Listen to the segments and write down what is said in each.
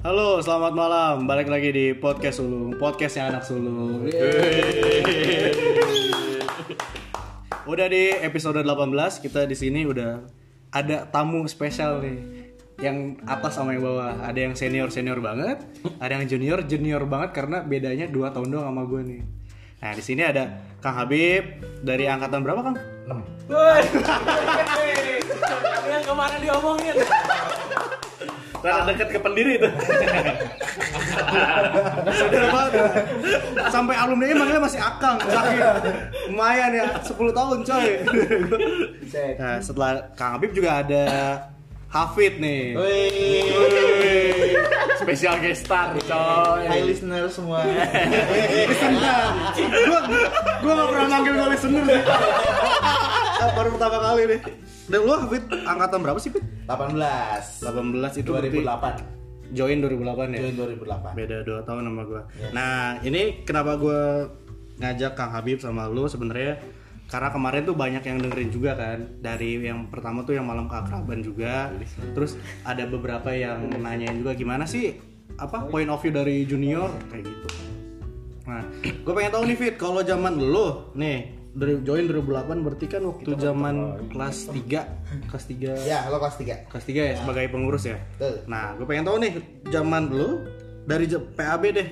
Halo, selamat malam. Balik lagi di podcast Sulung, podcast yang anak Sulung. Udah di episode 18, kita di sini udah ada tamu spesial nih. Yang atas sama yang bawah, ada yang senior-senior banget, ada yang junior-junior banget karena bedanya 2 tahun doang sama gue nih. Nah, di sini ada Kang Habib dari angkatan berapa, Kang? Woi, yang kemarin diomongin. Rada deket ke pendiri itu. Saudara banget. ya. Sampai alumni manggilnya masih Akang, sakit. Lumayan ya, 10 tahun coy. Nah, setelah Kang Habib juga ada Hafid nih. Wih. Spesial guest star coy. Hai listener semua. Listener. Gua gua gak pernah manggil gua listener sih. Ah, Baru pertama kali nih. Dan lu Hafid angkatan berapa sih, Fit? 18 18 itu berarti 2008. join 2008 ya. Join 2008. beda 2 tahun sama gue. Nah ini kenapa gue ngajak Kang Habib sama lu sebenarnya karena kemarin tuh banyak yang dengerin juga kan dari yang pertama tuh yang malam keakraban juga terus ada beberapa yang nanyain juga gimana sih apa point of view dari junior kayak gitu nah gue pengen tahu nih Fit kalau zaman lu nih dari join 2008 berarti kan waktu zaman kelas 3 kelas 3 Ya, lo kelas 3. kelas 3 ya sebagai pengurus ya. Betul. Nah, gue pengen tahu nih zaman lu dari J- PAB deh.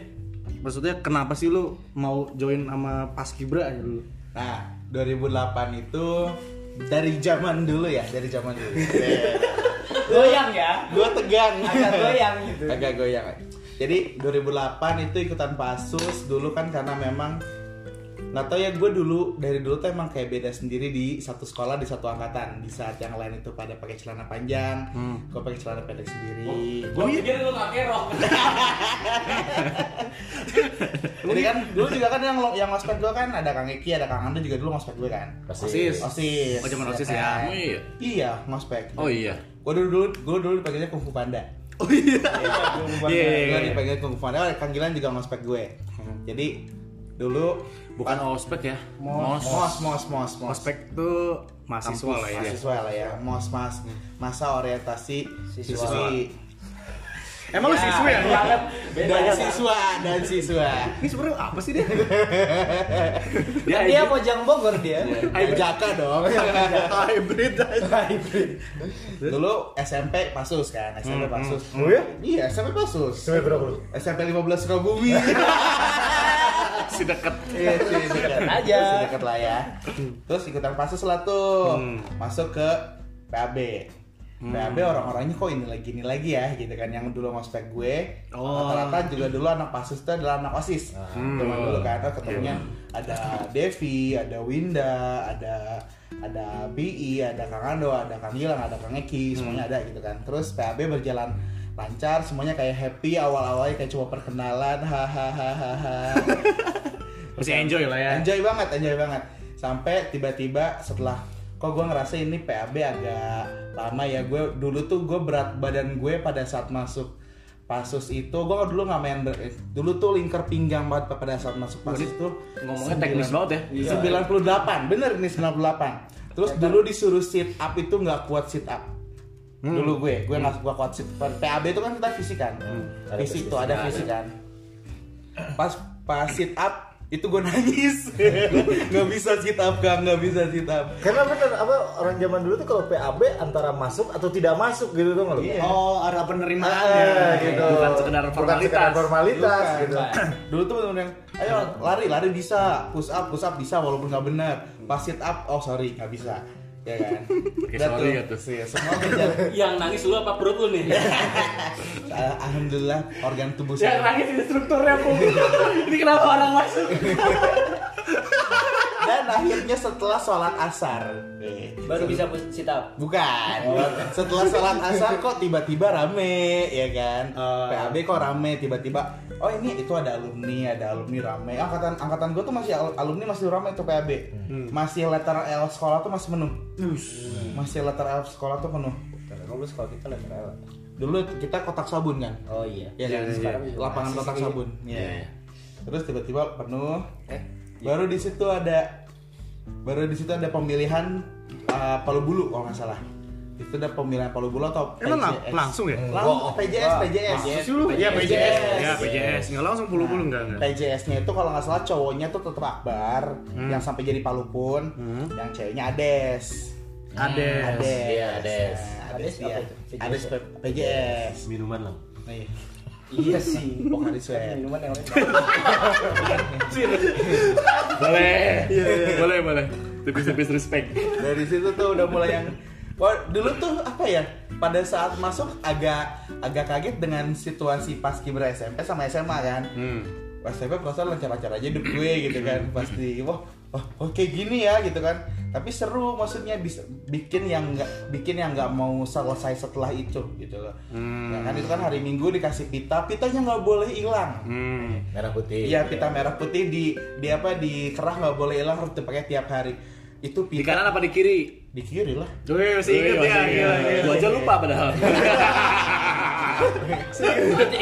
Maksudnya kenapa sih lu mau join sama Paskibra aja dulu? Nah, 2008 itu dari zaman dulu ya, dari zaman dulu. Goyang ya. Gua tegang. Agak goyang gitu. Agak goyang. Jadi 2008 itu ikutan pasus dulu kan karena memang nggak tau ya gue dulu dari dulu tuh emang kayak beda sendiri di satu sekolah di satu angkatan di saat yang lain itu pada pakai celana panjang, gue pakai celana pendek sendiri. Gue pikir lu kakek rok. Jadi kan dulu juga kan yang lo- yang ospek gue kan ada Kang Eki, ada Kang Andre juga dulu ngospek gue kan. Osis. Osis. Oh, zaman OSIS ya. kan? Oh iya. Iya, ngospek. Oh iya. Gue dulu dulu gue dulu dipanggilnya Kung Fu Panda. Oh iya. Iya, iya, Gue iya. dipanggil Kung Fu Panda, oleh Kang Gilan juga ngospek gue. Jadi dulu Bukan ospek ya. Mos. mos mos mos mos mos Ospek tuh mahasiswa lah ya. mahasiswa lah ya mos mas masa orientasi Siswa. siswi Emang lu siswa ya? dan siswa dan siswa Ini sebenarnya apa sih dia? Dia, dia Mojang Bogor dia. Ya, jaka dong Hybrid aja. Dulu SMP Pasus kan, SMP Pasus. Oh ya? Iya, SMP Pasus. SMP berapa lu? SMP 15 Sukabumi. Si deket. Iya, sih, dekat aja. Sih, Dekat lah ya. Terus ikutan Pasus lah tuh. Hmm. Masuk ke PAB. PAB orang-orangnya kok ini lagi ini lagi ya gitu kan yang dulu ngospek gue Oh. rata-rata juga dulu anak pasus itu adalah anak osis Zaman dulu kan oh, ketemunya ada Devi ada Winda ada ada BI ada Kang Ando ada Kang Gilang ada Kang Eki semuanya ada gitu kan terus PAB berjalan lancar semuanya kayak happy awal-awalnya kayak cuma perkenalan hahaha Masih enjoy lah ya. Enjoy banget, enjoy banget. Sampai tiba-tiba setelah kok gue ngerasa ini PAB agak lama ya gue dulu tuh gue berat badan gue pada saat masuk pasus itu gue dulu nggak main ber- dulu tuh lingkar pinggang banget pada saat masuk pasus itu Ngomongnya teknis banget ya. 98 bener ini 98 terus dulu disuruh sit up itu nggak kuat sit up Hmm. dulu gue gue nggak gua kuat sit PAB itu kan kita fisik kan Hmm. fisik tuh ada fisik kan pas pas sit up itu gue nangis nggak bisa sit up kang nggak bisa sit up Karena bener apa orang zaman dulu tuh kalau PAB antara masuk atau tidak masuk gitu tuh nggak lu? Oh, arah penerimaan Ah, Eh, ya. gitu. ya. Bukan sekedar Bukan sekedar formalitas. formalitas Bukan. gitu. dulu tuh bener yang ayo lari lari bisa push up push up bisa walaupun nggak benar pas sit up oh sorry nggak bisa ya kan Oke, Udah sorry ya tuh. Iya, semua berjalan Yang nangis lu apa perut lu nih? Al- alhamdulillah organ tubuh Ya, Yang saya nangis instrukturnya pun. Ini kenapa orang masuk? dan akhirnya setelah sholat asar Baru bisa Oh, sit up. bukan setelah sholat asar kok tiba-tiba rame ya kan Oh. PAB kok rame tiba-tiba oh ini itu ada alumni ada alumni rame angkatan angkatan gue tuh masih al- alumni masih rame tuh PAB Hmm. masih letter L sekolah tuh masih penuh masih letter L sekolah tuh penuh Kamu sekolah kita lagi dulu kita kotak sabun kan Oh iya. ya, kan? Sekarang lapangan kotak sabun Iya. terus tiba-tiba penuh baru di situ ada baru di situ ada pemilihan uh, palu bulu kalau nggak salah itu ada pemilihan palu bulu atau Emang lang- PJS? langsung ya? Langsung PJS, PJS. Sih lu? Iya, PJS. Ya PJS. Nggak langsung bulu-bulu enggak enggak. PJS-nya itu kalau nggak salah cowoknya tuh tetap Akbar yang sampai jadi palu pun, yang ceweknya Ades. Ada. Ades. Iya, Ades. Nah, Ades Ades dia. apa itu? PJS. Ades P- PJS. minuman lah Iya. Iya sih. Bukan di swab. Minuman yang lain. Boleh. Iya, Boleh, boleh. Tipis-tipis respect. Dari situ tuh udah mulai yang Wah, dulu tuh apa ya? Pada saat masuk agak agak kaget dengan situasi pas kibra SMP sama SMA kan. Hmm. Pas SMP perasaan lancar-lancar aja hidup gue gitu kan. Pasti wah wah oke gini ya gitu kan. Tapi seru maksudnya bis- bikin yang nggak bikin yang nggak mau selesai setelah itu gitu loh. Ya kan itu kan hari Minggu dikasih pita, pitanya nggak boleh hilang. Hmm. Merah putih. Iya pita merah putih di di apa di kerah nggak boleh hilang harus dipakai tiap hari. Itu Di pita kanan apa di kiri? di kiri lah. Wih, masih inget Wih, ya. masih gila, ingat. gila. Gua aja lupa padahal. itu,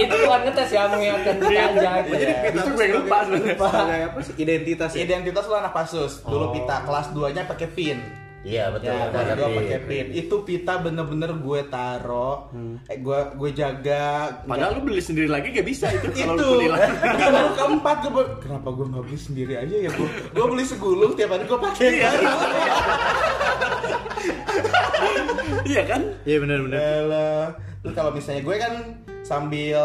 itu bukan ngetes ya mengingatkan kita aja. Jadi pita Itu tuh gue yang lupa sebagai- sebenarnya. sebagai apa sih? Identitas ya. Identitas lu anak pasus. Dulu pita kelas 2-nya pakai pin. Iya betul. Pak Ya, kelas dua Tapi. Oh. pakai pin. Itu pita bener-bener gue taro, eh, gue gue jaga. Padahal lu beli sendiri lagi gak bisa itu itu kalau lu beli lagi. Itu baru keempat gue baru- kenapa gue nggak beli sendiri aja ya gue gue beli segulung tiap hari gue pakai Iya kan? Iya benar-benar. Elah. Terus kalau misalnya gue kan sambil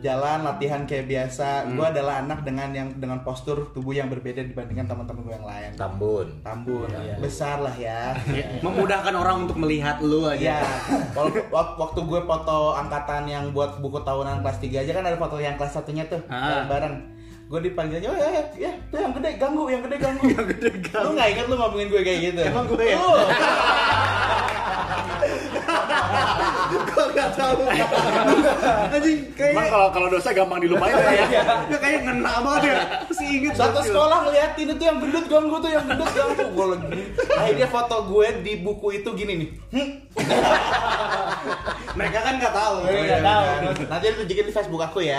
jalan latihan kayak biasa, Hmm. gue adalah anak dengan yang dengan postur tubuh yang berbeda dibandingkan teman-teman gue yang lain. Tambun. Tambun, Iya. besar lah ya. Memudahkan orang untuk melihat lu aja. Iya, Wal- wak- waktu gue foto angkatan yang buat buku tahunan kelas 3 aja kan ada foto yang kelas satunya tuh Ah. bareng. Gue dipanggilnya, oh ya, ya, ya, tuh yang gede ganggu, yang gede ganggu. yang gede ganggu. Lu nggak inget lu ngomongin gue kayak gitu? Emang gue ya? Gue nggak tahu. Anjing Emang kayak kalau kalau dosa gampang dilupain ya. ya kayak ngena banget ya. Masih inget. Satu sekolah ngeliatin itu yang gendut ganggu tuh yang gendut ganggu gue lagi. Akhirnya foto gue di buku itu gini nih. Hmm. Mereka kan nggak tahu. Gak tahu. Iya. Nanti tunjukin di Facebook aku ya.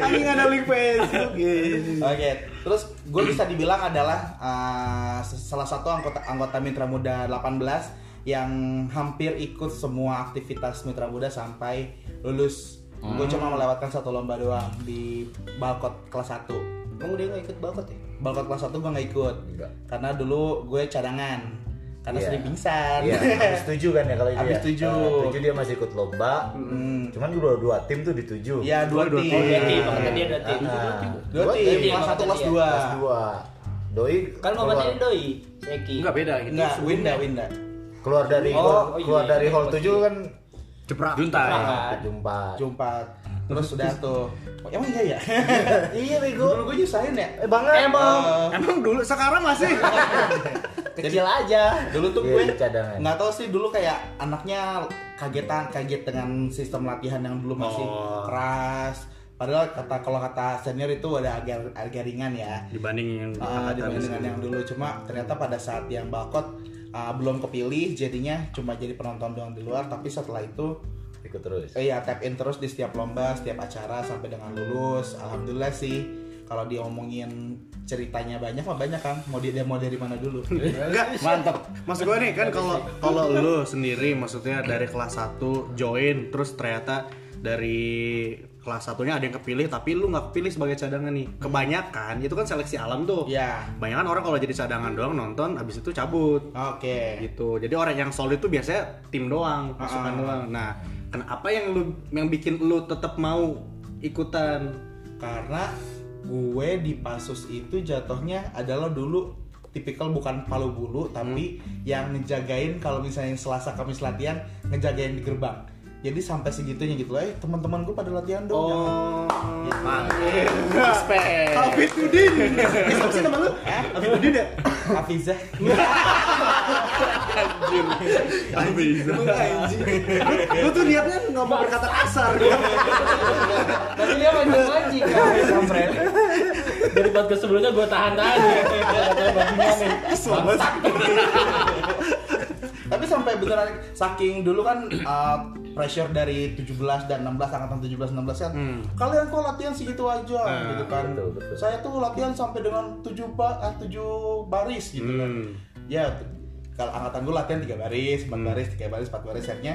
Anjing ada link Facebook. iya. Oke, terus gue bisa dibilang adalah uh, s- salah satu anggota anggota Mitra Muda 18 yang hampir ikut semua aktivitas Mitra Muda sampai lulus. Gue cuma Hmm. melewatkan satu lomba doang di Balkot kelas 1 Emang dia nggak ikut bakot ya? Balkot kelas 1 gue nggak ikut Enggak. karena dulu gue cadangan karena Iya. sering pingsan. Iya, habis tujuh kan ya kalau itu Habis ya? tujuh. Eh, tujuh dia masih ikut lomba. Hmm. Cuman dua dua tim tuh di tujuh. Iya dua Dua tim. tim. Dua tim, makanya dia dua tim. Ah, Dua Dua tim, tim, kelas satu makanya kelas dia. dua. Kelas dua. Doi Kan keluar- kompeten doi, Seki. Enggak beda gitu. Enggak, Winda, Winda. keluar dari Oh, hall- oh iya, keluar iya, dari iya, hall iya. tujuh kan Jeprak. Junta. ya? ah, jumpa. Jumpa. Terus udah tuh. Oh, Hmm. emang iya ya? Iya bego. Dulu gue nyusahin ya. Eh banget. Emang. Eh, Emang dulu sekarang masih. Kecil aja. dulu tuh Iya, gue di cadangan. nggak tahu sih dulu kayak anaknya kagetan kaget dengan sistem latihan yang dulu masih Oh. keras padahal kata kalau kata senior itu udah agak agak ringan ya Dibanding yang Ah, dibanding dengan yang dulu cuma ternyata pada saat yang bakot ah, belum kepilih jadinya cuma jadi penonton doang di luar tapi setelah itu Ikut terus. eh, ya tap in terus di setiap lomba setiap acara sampai dengan lulus alhamdulillah sih kalau diomongin ceritanya banyak mah banyak kan mau dia mau dari mana dulu Enggak, mantap. Maksud gue nih kan kalau kalau lu sendiri maksudnya dari kelas 1 join terus ternyata dari kelas satunya ada yang kepilih tapi lu nggak kepilih sebagai cadangan nih. Kebanyakan itu kan seleksi alam tuh. ya Kebanyakan orang kalau jadi cadangan doang nonton abis itu cabut oke gitu. Jadi orang yang solid tuh biasanya tim doang, pasukan Ah. doang. Nah, kenapa yang lu yang bikin lu tetap mau ikutan? karena gue di Pasus itu jatuhnya adalah dulu tipikal bukan palu bulu tapi Hmm. yang ngejagain kalau misalnya Selasa Kamis latihan ngejagain di gerbang. Jadi sampai segitunya gitu loh, eh teman-teman gue pada latihan dong. Gitu. jangan." Oh, Respect. Hafidudin. Eh, siapa sih nama lu? Eh, Hafidudin ya? Hafizah. Emang anjing. Lu tuh niatnya nggak mau berkata kasar. Tapi dia main ngaji kan. Dari podcast sebelumnya gue tahan-tahan ya. tapi sampai beneran saking dulu kan uh, pressure dari 17 dan 16 angkatan 17 16 kan. Kalian kok latihan segitu aja gitu kan. Hmm. Nah, betul, betul. eh, Hmm. Hmm. Saya tuh latihan sampai dengan 7 ba ah, 7 baris gitu kan. Ya, kalau angkatan gue latihan tiga baris empat Hmm. baris tiga baris empat baris setnya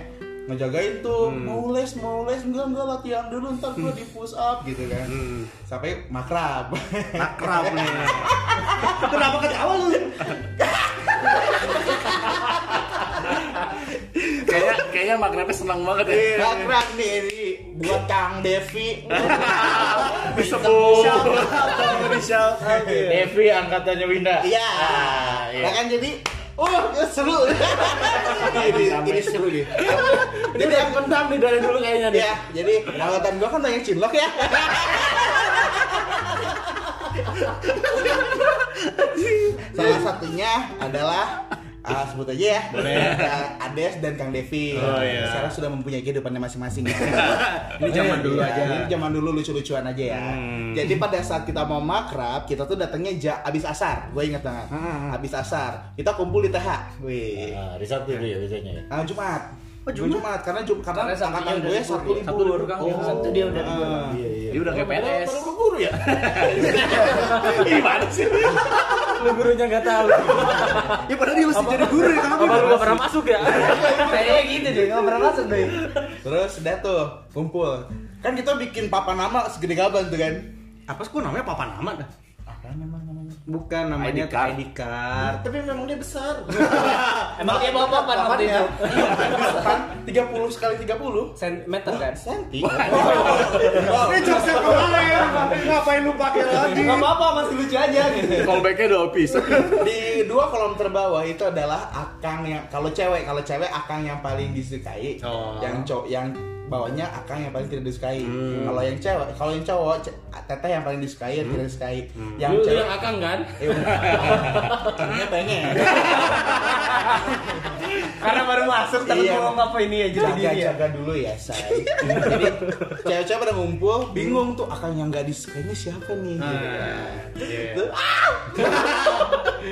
ngejagain tuh mau les mau les enggak enggak latihan dulu ntar gue di push up gitu kan Hmm. Hmm. sampai makrab Akrab nih. kenapa ketawa lu Kayaknya kayaknya makrabnya senang banget ya. Iya, makrab nih ini buat Kang Devi Oh. Disebut. Devi angkatannya Winda. Iya. Ya kan jadi Oh, ya seru. ini, ini seru nih. iya. Jadi yang pendam nih dari dulu Iya, kayaknya nih. Ya, jadi angkatan gua kan banyak cinlok ya. Salah satunya adalah ah, sebut aja ya. Ada Ades dan Kang Devi. Oh, iya. Sekarang sudah mempunyai kehidupannya masing-masing. ya. Ini zaman dulu Iya, aja. Hmm. Ini zaman dulu lucu-lucuan aja ya. Jadi pada saat kita mau makrab, kita tuh datangnya ja- abis asar. Gue ingat banget. Hmm. Abis asar, kita kumpul di TH. Wih. Nah, di Sabtu itu ya biasanya ya. Ah, Jumat. Oh, Jumat. karena Jumat Karena karena, Sabtunya Kan angkatan udah gue libur, Sabtu ya? libur. Sabtu libur, Kang. Oh. Sabtu dia udah libur. Ah. Iya, iya. Dia udah kayak PNS. Baru keburu ya? Gimana sih? Lu gurunya nggak tahu. Ya padahal dia mesti jadi guru ya kamu. Apa lu nggak pernah masuk ya? Kayaknya gitu deh, nggak pernah masuk deh. Terus udah tuh kumpul. Kan kita bikin papan nama segede gaban tuh kan. Apa sih kok namanya papa nama dah? Apa memang namanya? Bukan namanya ID card. ID card. Tapi memang dia besar. Emang dia bawa papan waktu Papannya. itu? Iya, papan 30 sekali 30 Sentimeter kan? senti. Oh, Ini jokes yang kemarin. Ngapain lu pakai lagi? Nggak apa-apa, masih lucu aja gitu. Callbacknya udah habis. di dua kolom terbawah itu adalah akang yang kalau cewek kalau cewek akang yang paling disukai Oh. yang cowok yang bawahnya akang yang paling tidak disukai kalau yang cewek kalau yang cowok ce- teteh yang paling disukai yang tidak disukai yang Yang lu cewek yang akang kan? Eh, udah. Karena pengen Karena baru masuk, tapi Iya. ngomong apa ini ya, jadi jaga diri ya. jaga dulu ya say jadi cewek-cewek pada ngumpul bingung tuh akang yang nggak disukainya siapa nih gitu. Tuh,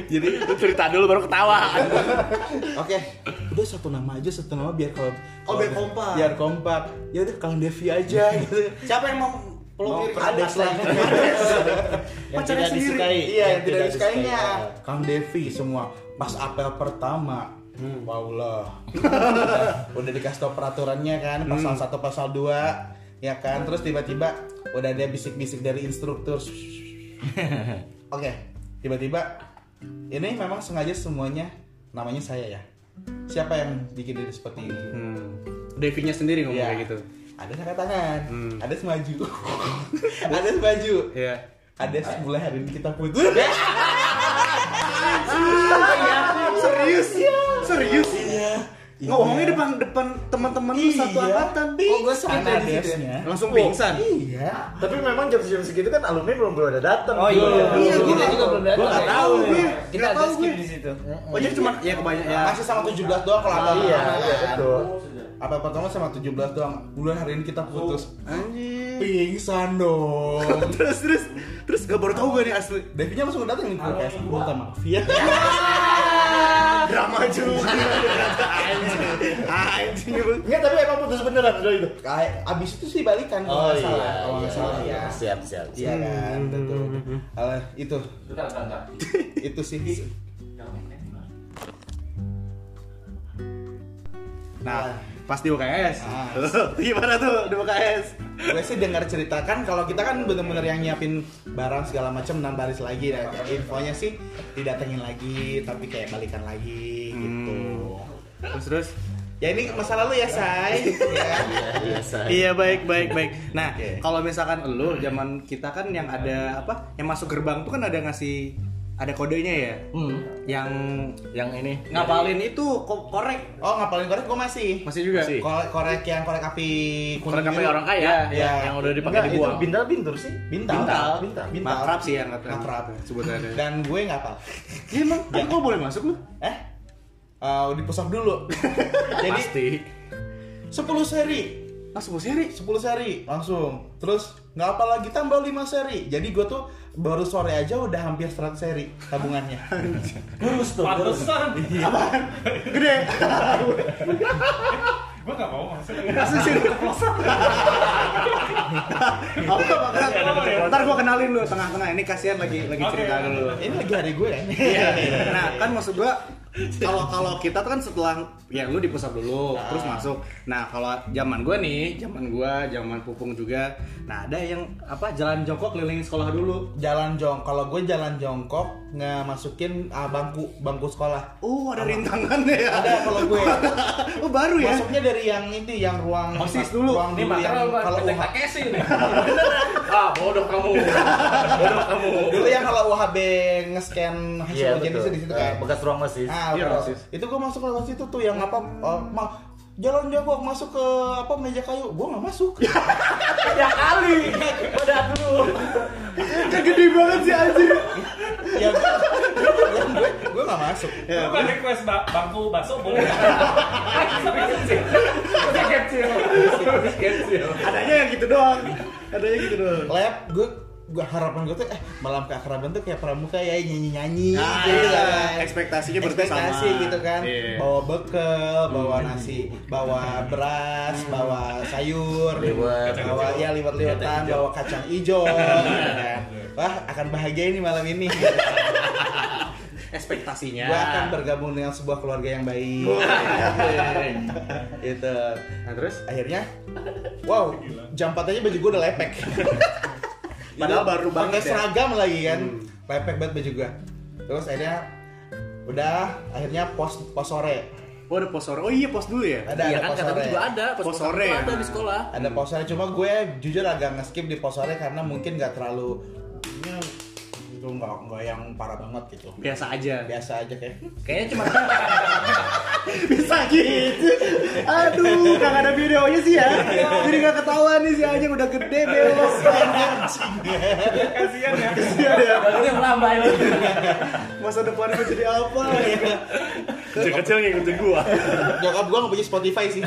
Jadi lu cerita dulu baru ketawa. Gitu. Oke, udah satu nama aja satu nama biar kalau Oh, biar kompak. Biar kompak. Ya udah Kang Devi aja gitu. Siapa yang mau Mau pelukir ada selain Yang tidak disukai. Iya, yang tidak disukainya. Kang Devi semua pas apel pertama. Waulah. udah dikasih tau peraturannya kan, pasal satu pasal 2 ya kan. Terus tiba-tiba udah ada bisik-bisik dari instruktur. Oke, tiba-tiba ini memang sengaja semuanya namanya saya ya. Siapa yang bikin diri seperti ini? Hmm. Devinya sendiri ngomong Iya. kayak gitu. Ada angkat tangan, ada semaju, ada semaju, Iya. ada mulai hari ini kita putus. Iya. Serius? Serius? Iya. Ngomongnya depan depan teman-teman lu satu angkatan. Bi. Oh, gue sana di situ ya. desnya. Langsung pingsan. Iya. Tapi memang jam-jam segitu kan alumni belum pada datang. Oh iya, Iya, gua kita nggak- juga belum datang. gua nggak tahu, Kita gue. Nggak ada tahu, skip gue. di situ. Oh jadi cuma ya kebanyakan ya. Masih sama 17 doang kalau apa Iya, iya, betul. Apa pertama sama 17 doang. Bulan hari ini kita putus. Anjir. Pingsan dong. Terus terus terus gak baru tahu gue nih asli. Devinya langsung datang nih podcast pertama. Via. Drama juga. Anjing. Anjing. Bu. Enggak, tapi emang putus beneran udah itu. Kayak abis itu sih balikan Oh, kalau iya, nggak salah, kalau nggak salah ya. Siap, siap. siap. Oh, Iya kan, betul. Eh, itu itu sih Nah, pas di UKS. Ah. Gimana tuh di UKS? gue sih dengar cerita kan kalau kita kan bener-bener yang nyiapin barang segala macam enam baris lagi dan infonya sih didatengin lagi tapi kayak balikan lagi gitu Terus terus. ya ini masa lalu ya say ya. Biasa. Iya baik baik baik. Nah Oke. kalau misalkan lo zaman kita kan yang ada apa? Yang masuk gerbang tuh kan ada ngasih ada kodenya ya. Yang Yang ini. ngapalin itu ko- korek oh ngapalin korek gue masih masih juga. Masih. korek korek yang korek api Iya. kuning Korek api biru. orang kaya Iya. yang udah dipakai Enggak, itu dibuang. bintal bintur sih. bintang Bintal. Bintal. Bintal. Makrab sih yang kata. Makrab. sebutannya. dan gue nggak apa Iya emang, tapi kok boleh masuk lu? eh eh dipusap dulu jadi Pasti. 10 seri Ah, sebuah seri. 10 seri langsung terus nggak apa lagi tambah 5 seri jadi gue tuh baru sore aja udah hampir 100 seri tabungannya Lurus tuh. lurus. Pantesan. Gede. Gue gak mau masuk. Langsung sini keplosan. Apa makrab? Ntar gua kenalin lu tengah-tengah ini kasihan lagi lagi cerita dulu. ya. Iya, ini lagi hari gue kan Nah, kan maksud gua kalau kalau kita tuh kan setelah ya lu di pusat dulu terus masuk. Nah, kalau zaman gua nih, zaman gua, zaman Pupung juga. Nah, ada yang apa jalan jongkok keliling sekolah dulu. jalan jong kalau gue jalan jongkok nggak masukin ah, bangku bangku sekolah Oh, ada rintangannya ya. ada kalau gue Oh, baru ya. masuknya dari yang ini yang ruang Osis dulu. ruang Ini dulu yang material buat kalau PT UH, Takeshi nih. Beneran. Iya. Ah, bodoh kamu. Bodoh kamu. dulu yang kalau UHB nge-scan hasil ujian itu di situ Eh, kan bekas ruang mesin. Ah, Iya, betul. Osis. itu gue masuk lewat situ tuh yang apa oh, ma- jalan jongkok masuk ke apa meja kayu gue nggak masuk Iya. Ya kali. Pada dulu. Kan Gede banget sih anjir. ya gue gue nggak masuk Iya. Lu kan request ba- bangku bakso boleh. Sampai kecil. Sampai kecil. Sampai kecil. Adanya yang gitu doang. Adanya gitu doang. lab gue gue harapan gue tuh eh malam keakraban tuh kayak pramuka ya nyanyi nyanyi Nah, iya. gitu kan. Ekspektasinya berarti ekspektasi sama. gitu kan Iya. Hmm. bawa bekal bawa nasi bawa beras bawa sayur Liwet. bawa ya liwet liwetan bawa kacang hijau gitu kan. wah akan bahagia ini malam ini Ekspektasinya. gue akan bergabung dengan sebuah keluarga yang baik gitu Nah, terus akhirnya wow jam 4 aja baju gue udah lepek Padahal baru banget pakai ya. seragam lagi kan lepek banget baju gue terus akhirnya udah akhirnya pos pos sore Oh ada pos sore. Oh iya pos dulu ya. ada Iya ada kan pos kata sore gue juga ada. Pas Pos sekolah sore. Ada di sekolah. ada pos sore cuma gue jujur agak ngeskip di pos sore karena mungkin nggak terlalu ya, itu nggak nggak yang parah banget gitu Biasa aja. biasa aja kayak Kayaknya cuma Bisa gitu. Aduh, gak ada videonya sih ya. Jadi gak ketahuan nih si anjing udah gede belok. kasihan ya. Iya ya. Bagusnya melambai lu. Masa depan gue jadi apa ya? Kecil kecil ngikutin gua. nyokap gue nggak punya Spotify sih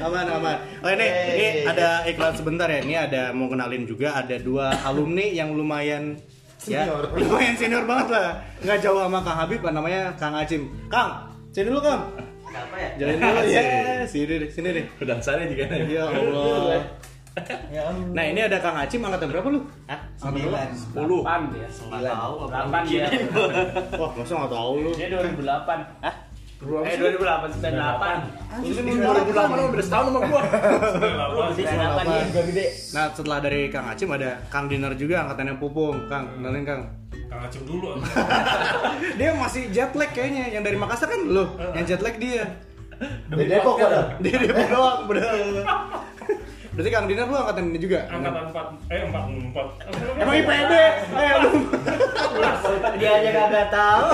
Aman, aman. Oh ini, ini ada iklan sebentar ya. Ini ada mau kenalin juga ada dua alumni yang lumayan Senior. Ya, lumayan senior banget lah. Nggak jauh sama Kang Habib, namanya Kang Acim. Kang, sini dulu Kang. Kenapa ya? Jalan dulu ya. Sini deh, sini deh. Udah sana juga. Ya Allah. ya ampun. Nah ini ada Kang Acim angkatan berapa lu? Hah? sembilan Puluh. Pan dia. Nggak tahu apa. 8 dia. Wah masa nggak tahu lu? Dia 2008. Hah? Eh 2008 98. Ini mau 2008 lu udah setahun sama gua. 98 dia. Gak gede Nah setelah dari Kang Acim ada Kang Dinar juga angkatannya Pupung. Kang, kenalin Kang. Kang Acem dulu. Dia masih jet lag kayaknya. Yang dari Makassar kan lu, yang jet lag dia. Di Depok ada. Dia dia doang, bener. Berarti Kang Dinar lu angkatan ini juga? Angkatan 4 eh 44. Emang IPB? Eh lu. Dia aja kagak tahu.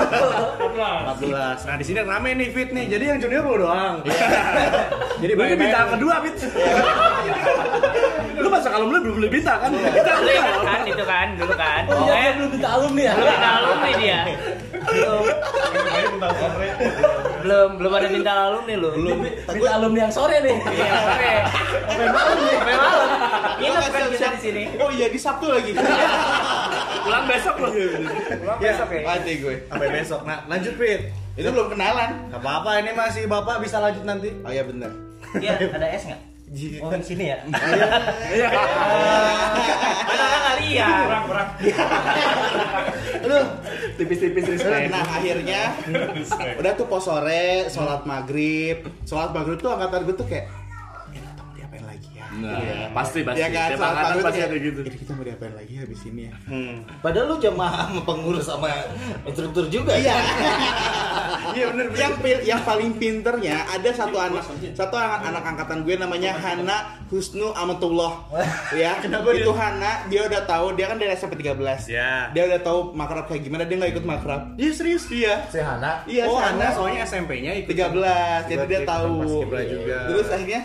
14. 14. Nah di sini rame nih Fit nih. Jadi yang junior lu doang. Iya. Jadi lu ini bintang kedua Fit. lu masa kalau lu belum beli bintang kan? Iya. Kita Dulu ya, kan itu kan dulu kan. Oh, iya, belum kita alumni ya. Belum kita alumni dia. Belum belum belum ada minta alumni lu. Belum minta alumni yang sore nih. Iya, sore. Sampai malam nih. Sampai malam. Iya, Nginep kan kita di sini. oh iya di Sabtu lagi Pulang besok lu. Pulang besok ya. mati gue sampai besok. Nah, lanjut Fit. itu belum kenalan Gak apa-apa, ini masih Bapak bisa lanjut nanti. oh iya bener Dia ada es nggak? Oh di sini ya. Mana kan kali ya. Kurang-kurang. Tipis-tipis respect. nah akhirnya udah tuh pos sore sholat maghrib sholat maghrib tuh angkatan gue tuh kayak "Eh, kita mau diapain lagi ya Nah, pasti pasti. ya kan Tiap sholat angkatan maghrib tuh pasti kayak, ada gitu. "Eh, kita mau diapain lagi habis ini ya Padahal lu jamaah sama pengurus sama instruktur juga iya ya. Iya bener. Iya, yang pil- yang paling pinternya ada satu anak satu anak, anak angkatan gue namanya Hana Husnu Amatullah ya itu Hana dia udah tahu dia kan dari SMP 13 Ya. dia udah tahu makrab kayak gimana dia nggak ikut makrab Iya serius dia. Si Hana. iya oh, si Hana Anda soalnya SMP-nya ikut 13 jadi Berarti dia tahu Paskibra juga. terus akhirnya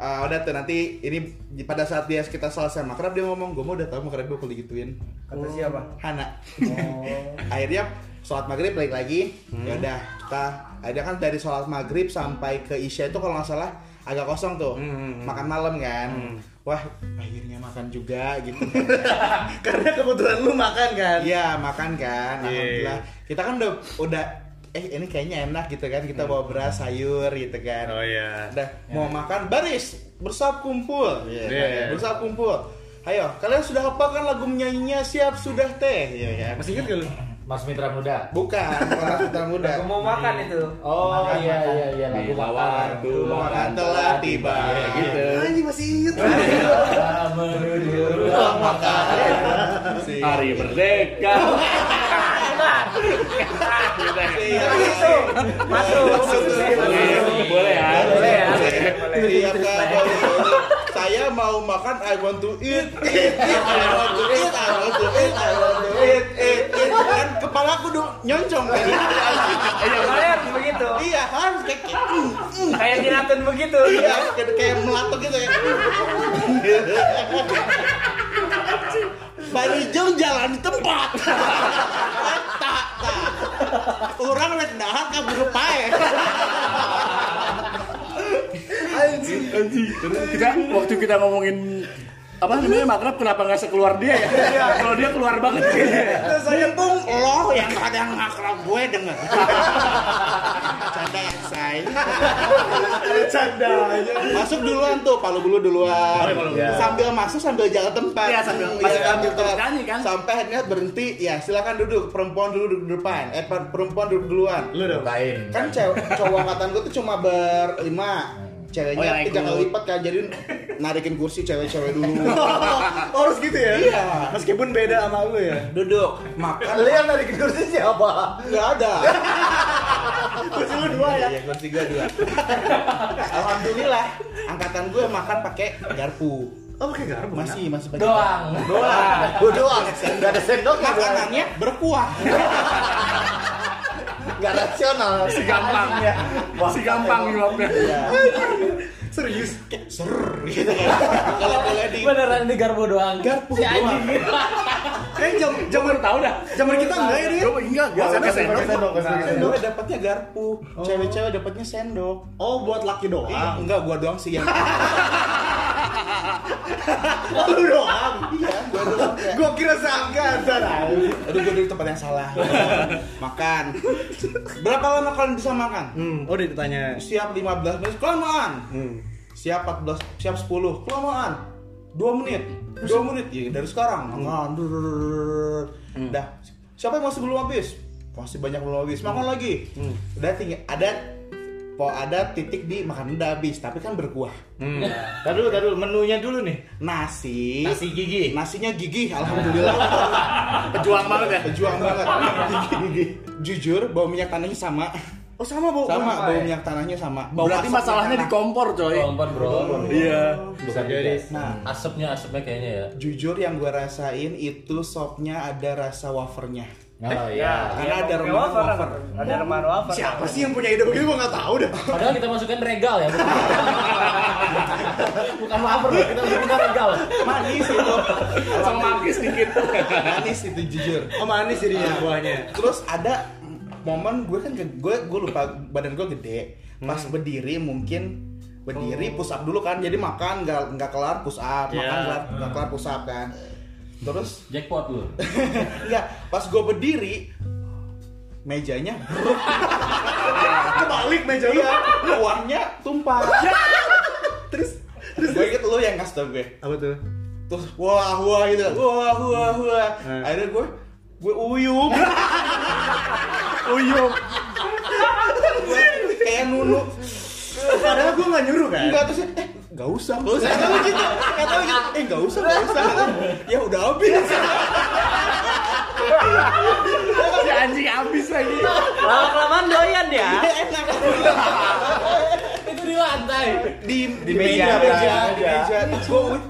ah, udah tuh nanti ini di- pada saat dia kita selesai makrab dia ngomong gue mau udah tahu makrab gue kalau digituin Kata siapa? Hana Oh. akhirnya sholat maghrib balik lagi Hmm. ya udah kita ada kan dari sholat maghrib sampai ke isya itu kalau nggak salah agak kosong tuh Hmm, makan malam kan wah akhirnya makan juga gitu karena kebetulan lu makan kan. Iya makan kan, alhamdulillah. Kita kan udah udah eh ini kayaknya enak gitu kan Hmm. kita bawa beras sayur gitu kan. Oh iya. Udah mau makan baris bersab kumpul, Iya, Iya. kan? bersab kumpul. Ayo kalian sudah hafalkan lagu menyanyinya siap sudah teh, Iya kan? Masih inget gak lu? Mas Mitra Muda. Bukan, orang Sutra Muda. Aku mau makan itu. Oh iya iya iya lagu Bila makan. waktu Makan telah tiba. Ya, gitu. Anjing masih inget. Nah, Kita menuju ruang makan. Si- Hari merdeka. Masuk, masuk. Boleh, boleh ya. Boleh ya. Iya kan, saya mau makan I want to eat, eat, eat, I want to eat, I want to eat, I want to eat, eat, eat. Kan kepala aku dong nyoncong kan. Kalian harus begitu. Iya harus kayak kayak, mm, mm. Kayak dinatun begitu. Iya, kayak- kayak melatuk gitu ya. Baru jeng jalan di tempat. Tak, tak. Orang lihat dahar kabur pae. Kita waktu kita ngomongin apa namanya makrab kenapa nggak sekeluar dia ya? Iya. Kalau dia keluar banget kayaknya. Terus saya pun lo yang kadang akrab gue denger. Canda ya, say. Canda aja. Masuk duluan tuh, palu bulu duluan. Sambil masuk sambil jaga tempat. Iya, sambil- Hmm, masih iya, sambil tempat. nyanyi kan? Sampai akhirnya berhenti, ya silakan duduk. Perempuan dulu duduk depan. Eh per- perempuan duduk duluan. Lu dong. Lain. Kan cewek cowok angkatan gue tuh cuma berlima. Oh, yang Ceweknya tiga ikut. kali lipat kan jadi narikin kursi cewek-cewek dulu. Oh, harus gitu ya? Iya. Meskipun beda sama lu ya. duduk, makan Lu yang dari kursi siapa? Gak ada. Kursi lu dua ya. Iya, kursi gue dua. Alhamdulillah, angkatan gue makan pakai garpu. Oh, pakai garpu. Masih masih pakai. Doang. Doang. Gua doang. Enggak ada ya, sendoknya. Makanannya berkuah. Enggak rasional. Si gampang. Si gampang jawabnya. Serius, kayak ser gitu kan. Kalau boleh di Beneran di garpu doang. Iya, garpu Si doang. anjing. Eh, jam jam Gue tahu dah. zaman kita enggak ya, Dit? Gue enggak, Oh, gue sampai sendok. Sendoknya dapatnya garpu, cewek-cewek dapatnya sendok. Oh, buat laki doang. Ih, Iya, enggak, gua doang sih yang Oh, Lu doang. iya, gua doang. kayak, Gua kira seangkatan. Aduh, gua dari tempat yang salah. makan. Berapa lama kalian bisa makan? Hmm, oh ditanya. Siap 15 menit kelamaan. Hmm. siap 14 siap 10 kelamaan 2 menit 2 menit ya dari sekarang ngandur dah siapa yang masih belum habis masih banyak belum habis makan lagi udah tinggal ada po ada titik di makan udah habis tapi kan berkuah Tadi dulu, tadi dulu menunya dulu nih. nasi, Nasi gigi. nasinya gigih alhamdulillah Pejuang banget ya. pejuang banget Gigih. jujur bau minyak tanahnya sama Oh, sama, Bu. sama bau minyak tanahnya sama Berarti Berasap masalahnya di tanah. kompor coy. Kompor bro. Iya. Bisa jadi. nah Asapnya asapnya kayaknya ya. jujur yang gue rasain itu sopnya ada rasa wafernya Oh ya. iya. karena ada Pakai remahan wafer. wafer Ada remahan wafer. Siapa sih yang punya ide begitu gua enggak tahu Eh, dah. Padahal kita masukkan regal ya. bukan- Bukan wafer, kita masukkan regal. manis itu Sama magis dikit. manis itu jujur Oh, manis jadinya buahnya. terus ada momen gue kan ge- gue gue lupa badan gue gede pas berdiri mungkin berdiri push up dulu kan jadi makan nggak nggak kelar push up makan Iya. nggak- nggak kelar push up kan terus Jackpot lu. Iya, pas gue berdiri mejanya kebalik meja lu uangnya tumpah terus terus gue inget lu yang ngasih tau gue Apa tuh? terus wah wah gitu wah wah wah Hmm. akhirnya gue gue uyup Uyuh. gue kayak nunu Padahal gua enggak nyuruh kan. enggak terus eh nggak usah nggak usah kata gitu kata gitu eh nggak usah nggak usah ya udah habis Si anjing habis lagi. Lama kelamaan doyan ya. enak Itu di lantai. di di meja, meja, meja, meja. Oh, di meja. Gue uyup.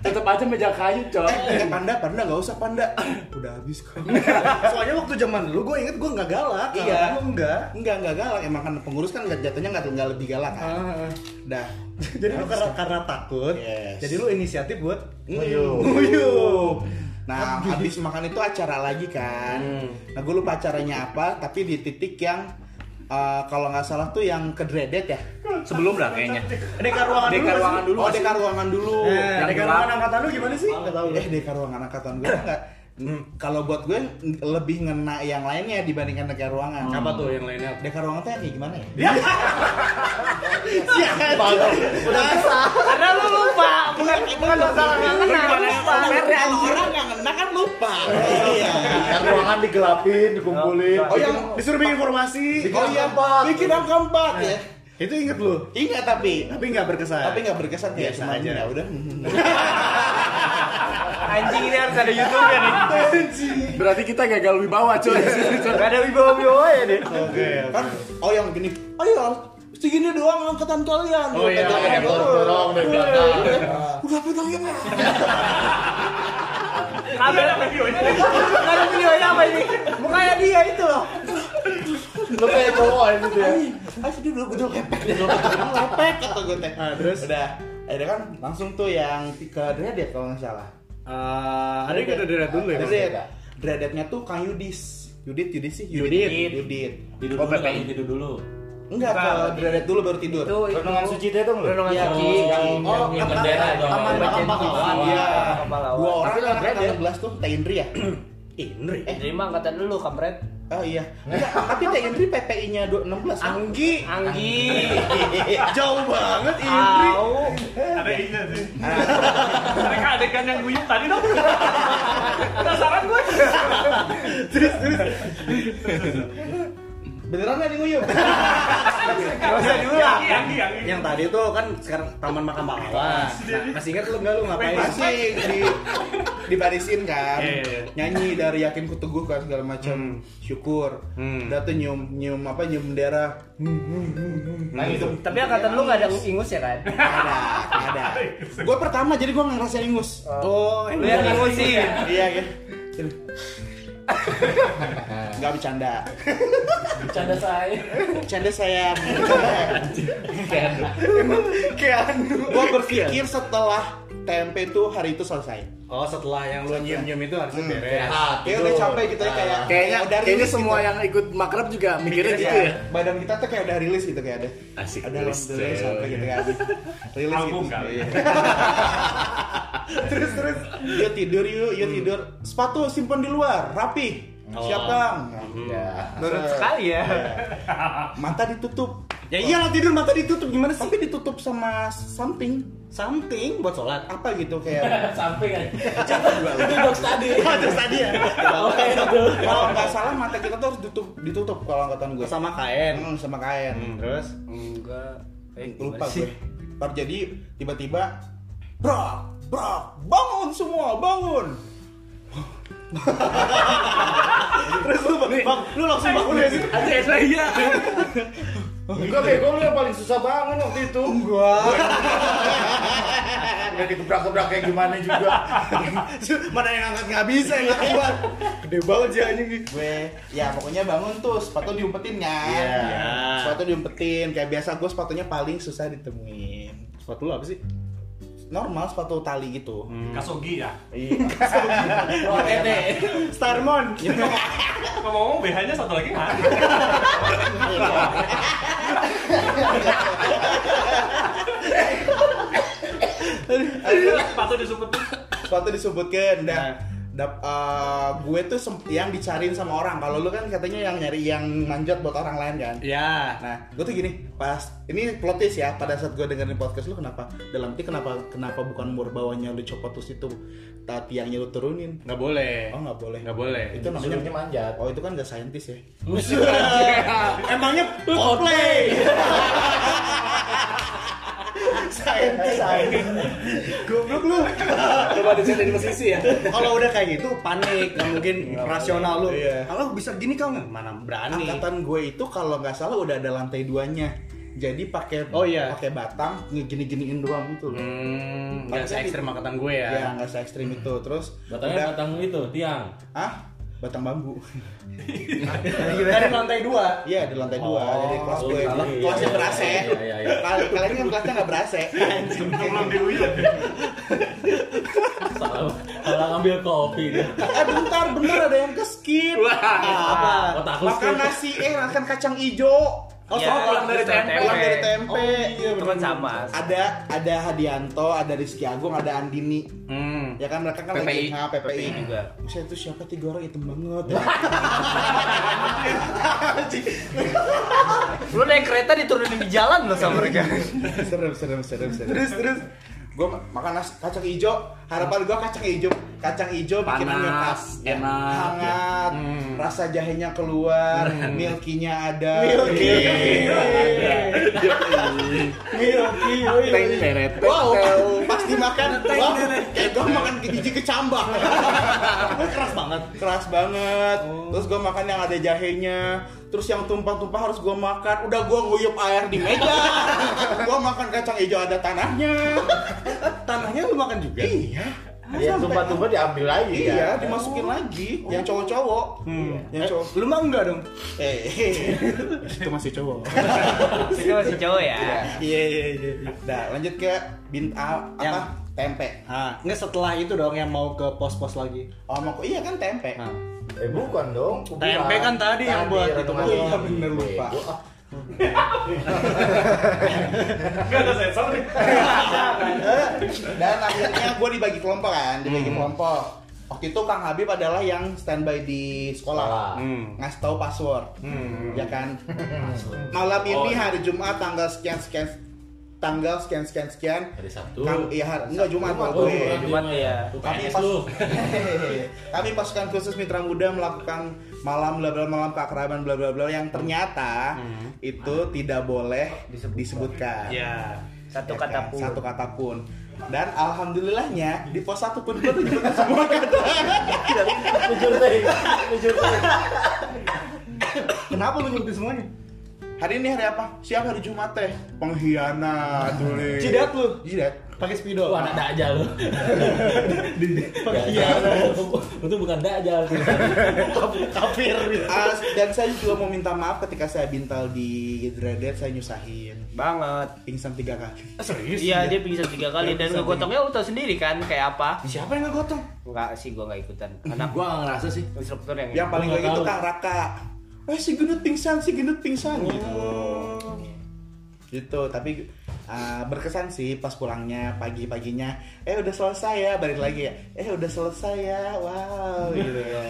Tetap aja meja kayu coy. Eh, panda, panda nggak usah panda. Udah habis kok. Soalnya waktu zaman dulu gua inget gua enggak galak. Iya. Kalau Gua enggak. Enggak, enggak galak. Emang kan pengurus kan nggak- jatuhnya nggak nggak lebih galak Ah. kan. Dah. jadi lu karena, karena takut, Yes. jadi lu inisiatif buat Uyup. Nah, habis makan itu acara lagi kan. Nah, gue lupa acaranya apa, tapi di titik yang eh, kalau nggak salah tuh yang kedredet ya. Sebelum lah kayaknya. deka ruangan Deka dulu. ruangan dulu. oh, deka ruangan dulu. Eh, Yang deka gelap. ruangan angkatan lu gimana sih? Enggak tahu. Eh, deka ruangan angkatan gue enggak. Kalau buat gue n- lebih ngena yang lainnya dibandingkan deka ruangan. Apa tuh yang lainnya? Deka ruangan tuh yang kayak gimana ya? Karena lu lupa, ya, bukan bukan masalah nggak kenal. Kalau orang nggak ngena kan lupa. Iya. ruangan digelapin, dikumpulin. Oh yang Disuruh bikin informasi. oh iya empat. bikin angka empat ya. Itu inget lu. Ingat tapi Tapi nggak berkesan. tapi nggak berkesan ya Biasa cuma aja. ya udah. Anjing ini harus ada YouTube ya nih. Berarti kita gagal wibawa coy. Gak ada wibawa-wibawa ya deh. Oke. Kan oh yang gini. Oh iya segini doang angkatan kalian. Iya, Oh iya, Kata- yang dorong-dorong dari belakang. Udah pegangin lah. Apa ada videonya? Gak ada videonya apa ini? Mukanya dia itu loh. Lu kayak cowok ini tuh ya. Ah sedih dulu gue lepek dulu. Lepek kata gue teh. Nah, terus? udah akhirnya kan langsung tuh yang ke Dreaded kalau nggak salah. Eh, ada yang ada deret dulu ya? Mas? Dreaded. Dreadednya tuh Kang Yudis. Yudit, Yudis sih, Yudit. Yudit. Tidur Oh, dulu Pepe. kayaknya tidur dulu. Enggak, Enggak, ke Dreaded dulu baru tidur. Itu itu Renungan suci itu dong lu. renungan Iya, suci. yang- yang punya bendera dong. Taman Bacain makam pahlawan. pahlawan. Iya, Iya. makam pahlawan. Dua orang kan angkatan 11 tuh, Teh Indri ya? Indri. Eh, terima angkatan dulu, kampret. Oh iya. Enggak, tapi Teh Indri PPI-nya 16. kan? Anggi. Anggi. Iya. Jauh banget Ah. Indri. Au. Ada ini sih. Mereka adegan yang guyup tadi dong. Penasaran gue. Beneran nggak diguyup? Gak usah diulang. Yang- Yang yang yang Yang tadi tuh kan sekarang Taman Makam Pahlawan. Nah, masih ingat lu enggak lu ngapain? Masih di dibarisin kan. Iya, iya, iya. Nyanyi dari yakin ku teguh kan segala macam. Syukur. Hmm. Udah tuh nyium nyium apa nyium bendera. Nah itu. Tapi angkatan lu gak ada ingus ya kan? ada, nggak ada. Gue pertama jadi gue ngerasain ingus. Oh, Lu yang ingus sih. iya kan. Gak bercanda. Canda saya. Bercanda saya. kayak anu. gue berpikir setelah tempe itu hari itu selesai. Oh, setelah yang lu nyium-nyium itu harusnya beres. Ah, Kayak udah capek gitu ya kayak Kayaknya kayak udah kayaknya rilis semua gitu. yang ikut makrab juga mikirnya gitu Iya, ya. badan kita tuh kayak udah rilis gitu kayak ada. Asik, Ada rilis, rilis, rilis iya, coy. sampai gitu kan. Rilis Album gitu. kali. Iya. terus terus yuk tidur yuk, Hmm. yuk tidur. Sepatu simpan di luar, rapi. Oh. Siap kang. Hmm. Iya. Menurut sekali ya. Mata ditutup. Ya iyalah tidur mata ditutup gimana sih? Tapi ditutup sama something. Something buat sholat. Apa gitu kayak Sampai kan. Itu box tadi. Oh, terus tadi ya. kalau nggak salah mata kita tuh harus ditutup ditutup kalau angkatan gue. Sama kain. Hmm, sama kain. Terus Enggak. Eh, gimana lupa sih? gue Ntar jadi tiba-tiba bro bro bangun semua bangun terus lu bang lu langsung bangun ya sih Ada yang iya. Enggak bego lu yang paling susah bangun waktu itu. gua Enggak digebrak-gebrak kayak gimana juga. mana yang angkat nggak bisa yang angkat buat. Gede banget sih anjing nih. gue ya pokoknya bangun tuh sepatu diumpetin kan Iya. sepatu diumpetin kayak biasa gue sepatunya paling susah ditemuin Sepatu lu apa sih? Hmm. normal sepatu tali gitu Kasogi ya. iya Starmon. Ngomong-ngomong BH-nya satu lagi nggak ada. Iya. Sepatu disumpetin. sepatu disebutkan Nah. dah Dap- eh, gue tuh sem- yang dicariin sama orang kalau lu kan katanya yang nyari yang manjat buat orang lain kan Iya. Ya. Nah, gue tuh gini, pas ini plot twist ya, pada saat gue dengerin podcast lu kenapa dalam ti kenapa kenapa bukan mur bawahnya lu copot terus itu tapi yang lu turunin. Nggak boleh. Oh, nggak boleh. Nggak boleh. Itu Suruhnya namanya manjat. Oh, itu kan nggak saintis ya. Ah, Emangnya Coldplay. saintis saintis. Goblok lu. Coba diceritain musisi ya. Kalau udah kayak gitu panik, nggak mungkin rasional lu. Iya. Kalau bisa gini kau nggak? Nah, Mana berani? Angkatan gue itu kalau nggak salah udah ada lantai duanya. Jadi pakai Oh, iya. pakai batang ngegini-giniin doang gitu. loh. Hmm, nggak se ekstrem angkatan gue ya. Ya, nggak se ekstrim itu. Terus Batangnya udah, batang itu tiang. ah, batang bambu. Dari lantai dua. Iya di lantai dua, jadi kelas oh, gue iya, iya, kelasnya iya, berase. iya, iya, iya. Kal- Kalian kan kelasnya nggak berase. Belum diuyut. Salah salah ngambil kopi dia. eh bentar, bener ada yang ke skip. apa? otak lu Makan skip. nasi, eh makan kacang ijo. Oh, Iya, soalnya pulang dari terus tempe. tempe. Pulang dari tempe. Oh, Iya, Teman sama. Ada ada Hadianto, ada Rizky Agung, ada Andini. Hmm. Ya kan mereka kan PPI. lagi nah, PPI. PPI juga. Buset, itu siapa tiga orang hitam banget. Lu naik kereta diturunin di jalan loh sama mereka. serem serem serem serem terus terus gue makan nasi kacang hijau harapan gue kacang hijau kacang hijau bikinan Panas, ngepas Ya, enak, hangat rasa jahenya keluar milkinya ada Iya. Teng teret. Wow, pasti makan wah, kayak gue makan ke biji kecambah. keras banget, Oh. keras banget. Terus gue makan yang ada jahenya. Terus yang tumpah-tumpah harus gue makan. Udah gue nguyup air di meja. gue makan kacang hijau ada tanahnya. Tanahnya lu makan juga? Iya. Iya, tumpah-tumpah diambil Iya, lagi Hmm. kan? dimasukin lagi yang cowok-cowok. Iya. Yang cowok. Hmm, Lu mah enggak dong? Eh, itu masih cowok. Itu masih cowok ya. Iya iya iya. Nah, lanjut ke bint a- apa? Yang- tempe. Ah, nggak setelah itu dong yang mau ke pos-pos lagi. Oh, sama ku- iya kan tempe. Nah. Eh bukan dong. kuburan. Tempe kan tadi yang buat itu. renungan Oh, iya, doang. bener, lupa. Bego, ah. Gak ada sensor nih. Dan akhirnya gue dibagi kelompok kan, dibagi kelompok. Waktu itu Kang Habib adalah yang standby di Sekolah. sekolah, ngasih tahu password, ya kan. Malam Oh, ini iya. hari Jumat tanggal sekian sekian tanggal sekian sekian sekian. Hari Sabtu. Kang, iya hari enggak Jumat Jumat, waktu oh, itu. iya. Jumat ya. Kami UPNS pas- lu. Kami pasukan khusus Mitra Muda melakukan malam bla bla malam keakraban bla bla bla yang ternyata itu tidak boleh disebutkan. Ya. Satu kata Ya kan? pun. Satu kata pun. Dan alhamdulillahnya di pos satu pun gue disebutkan semua kata. Jujur deh, jujur deh. Kenapa lu nyebutin semuanya? Hari ini hari apa? Siang hari Jumat teh. Pengkhianat, tulis. Jidat lu? Jidat. Pakai spidol. Lu anak dakja lu. Itu bukan dakja lu. Iya. Kafir. Ah, dan saya juga mau minta maaf ketika saya bintal di Dreaded saya nyusahin. Banget. Pingsan tiga kali. Serius? Iya, dia pingsan tiga kali dan ngegotongnya lu tau sendiri kan kayak apa? Siapa yang ngegotong? Enggak sih, gua enggak ikutan. Karena Gua nggak ngerasa sih. instruktur yang Yang paling Gua nggak lagi itu tahu. Kang Raka. Eh si gendut pingsan, si gendut Oh. pingsan gitu. Gitu, tapi ah, berkesan sih pas pulangnya pagi-paginya. Eh udah selesai ya, balik lagi ya. Eh udah selesai ya. Wow gitu ya.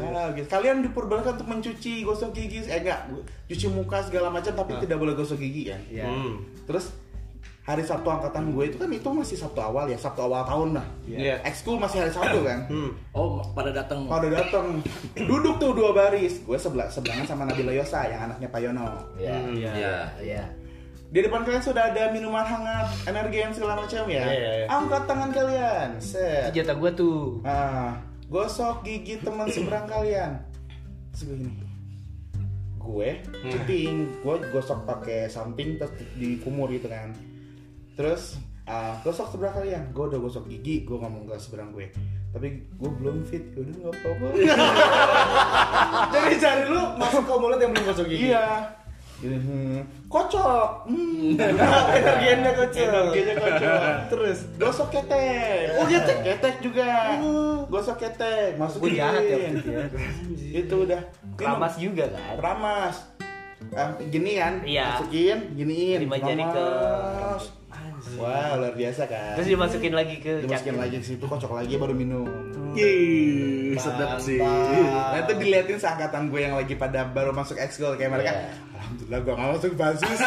Wow, gitu. Kalian diperbolehkan untuk mencuci, gosok gigi, eh enggak, cuci muka segala macam Ah. tapi tidak boleh gosok gigi ya. Iya. Terus hari Sabtu angkatan gue itu kan itu masih Sabtu awal ya, Sabtu awal tahun lah. Iya. Ekskul masih hari Sabtu kan. Hmm. Oh, pada datang. Pada datang Eh, duduk tuh dua baris. Gue sebelah sebelangan sama Nabila Yosa yang anaknya Pak Yono. Iya, Hmm. Iya. iya. Di depan kalian sudah ada minuman hangat, energi yang segala macam ya. Iya, iya. Angkat tangan kalian. Set. Senjata gua tuh. Ah, gosok gigi teman seberang kalian. Segini. Gue cuting, gue gosok pakai samping terus di- dikumur gitu kan. Terus ah, gosok seberang kalian, gue udah gosok gigi, gue ngomong ke seberang gue. Tapi gue belum fit, udah nggak apa-apa. Jadi cari lu masuk ke mulut yang belum gosok gigi. Iya. Mhm. Mm-hmm. Kocok. Mm. Hmm. Energinya kocok. Energinya kocok. Terus gosok ketek. Oh, ketek, ketek juga. Gosok ketek, masukin. Gua jahat ya waktu itu ya. Itu udah Keramas juga kan. Ramas. Eh, gini kan, Iya. masukin, giniin, Lima jari ke- Ramas. Wah, luar biasa kan. Terus dimasukin lagi ke cangkir. dimasukin lagi ke situ, kocok lagi baru minum. Mm. Ih, sedap sih. Nah itu diliatin seangkatan gue yang lagi pada baru masuk ekskul kayak mereka. Iya. Alhamdulillah gue gak masuk basis.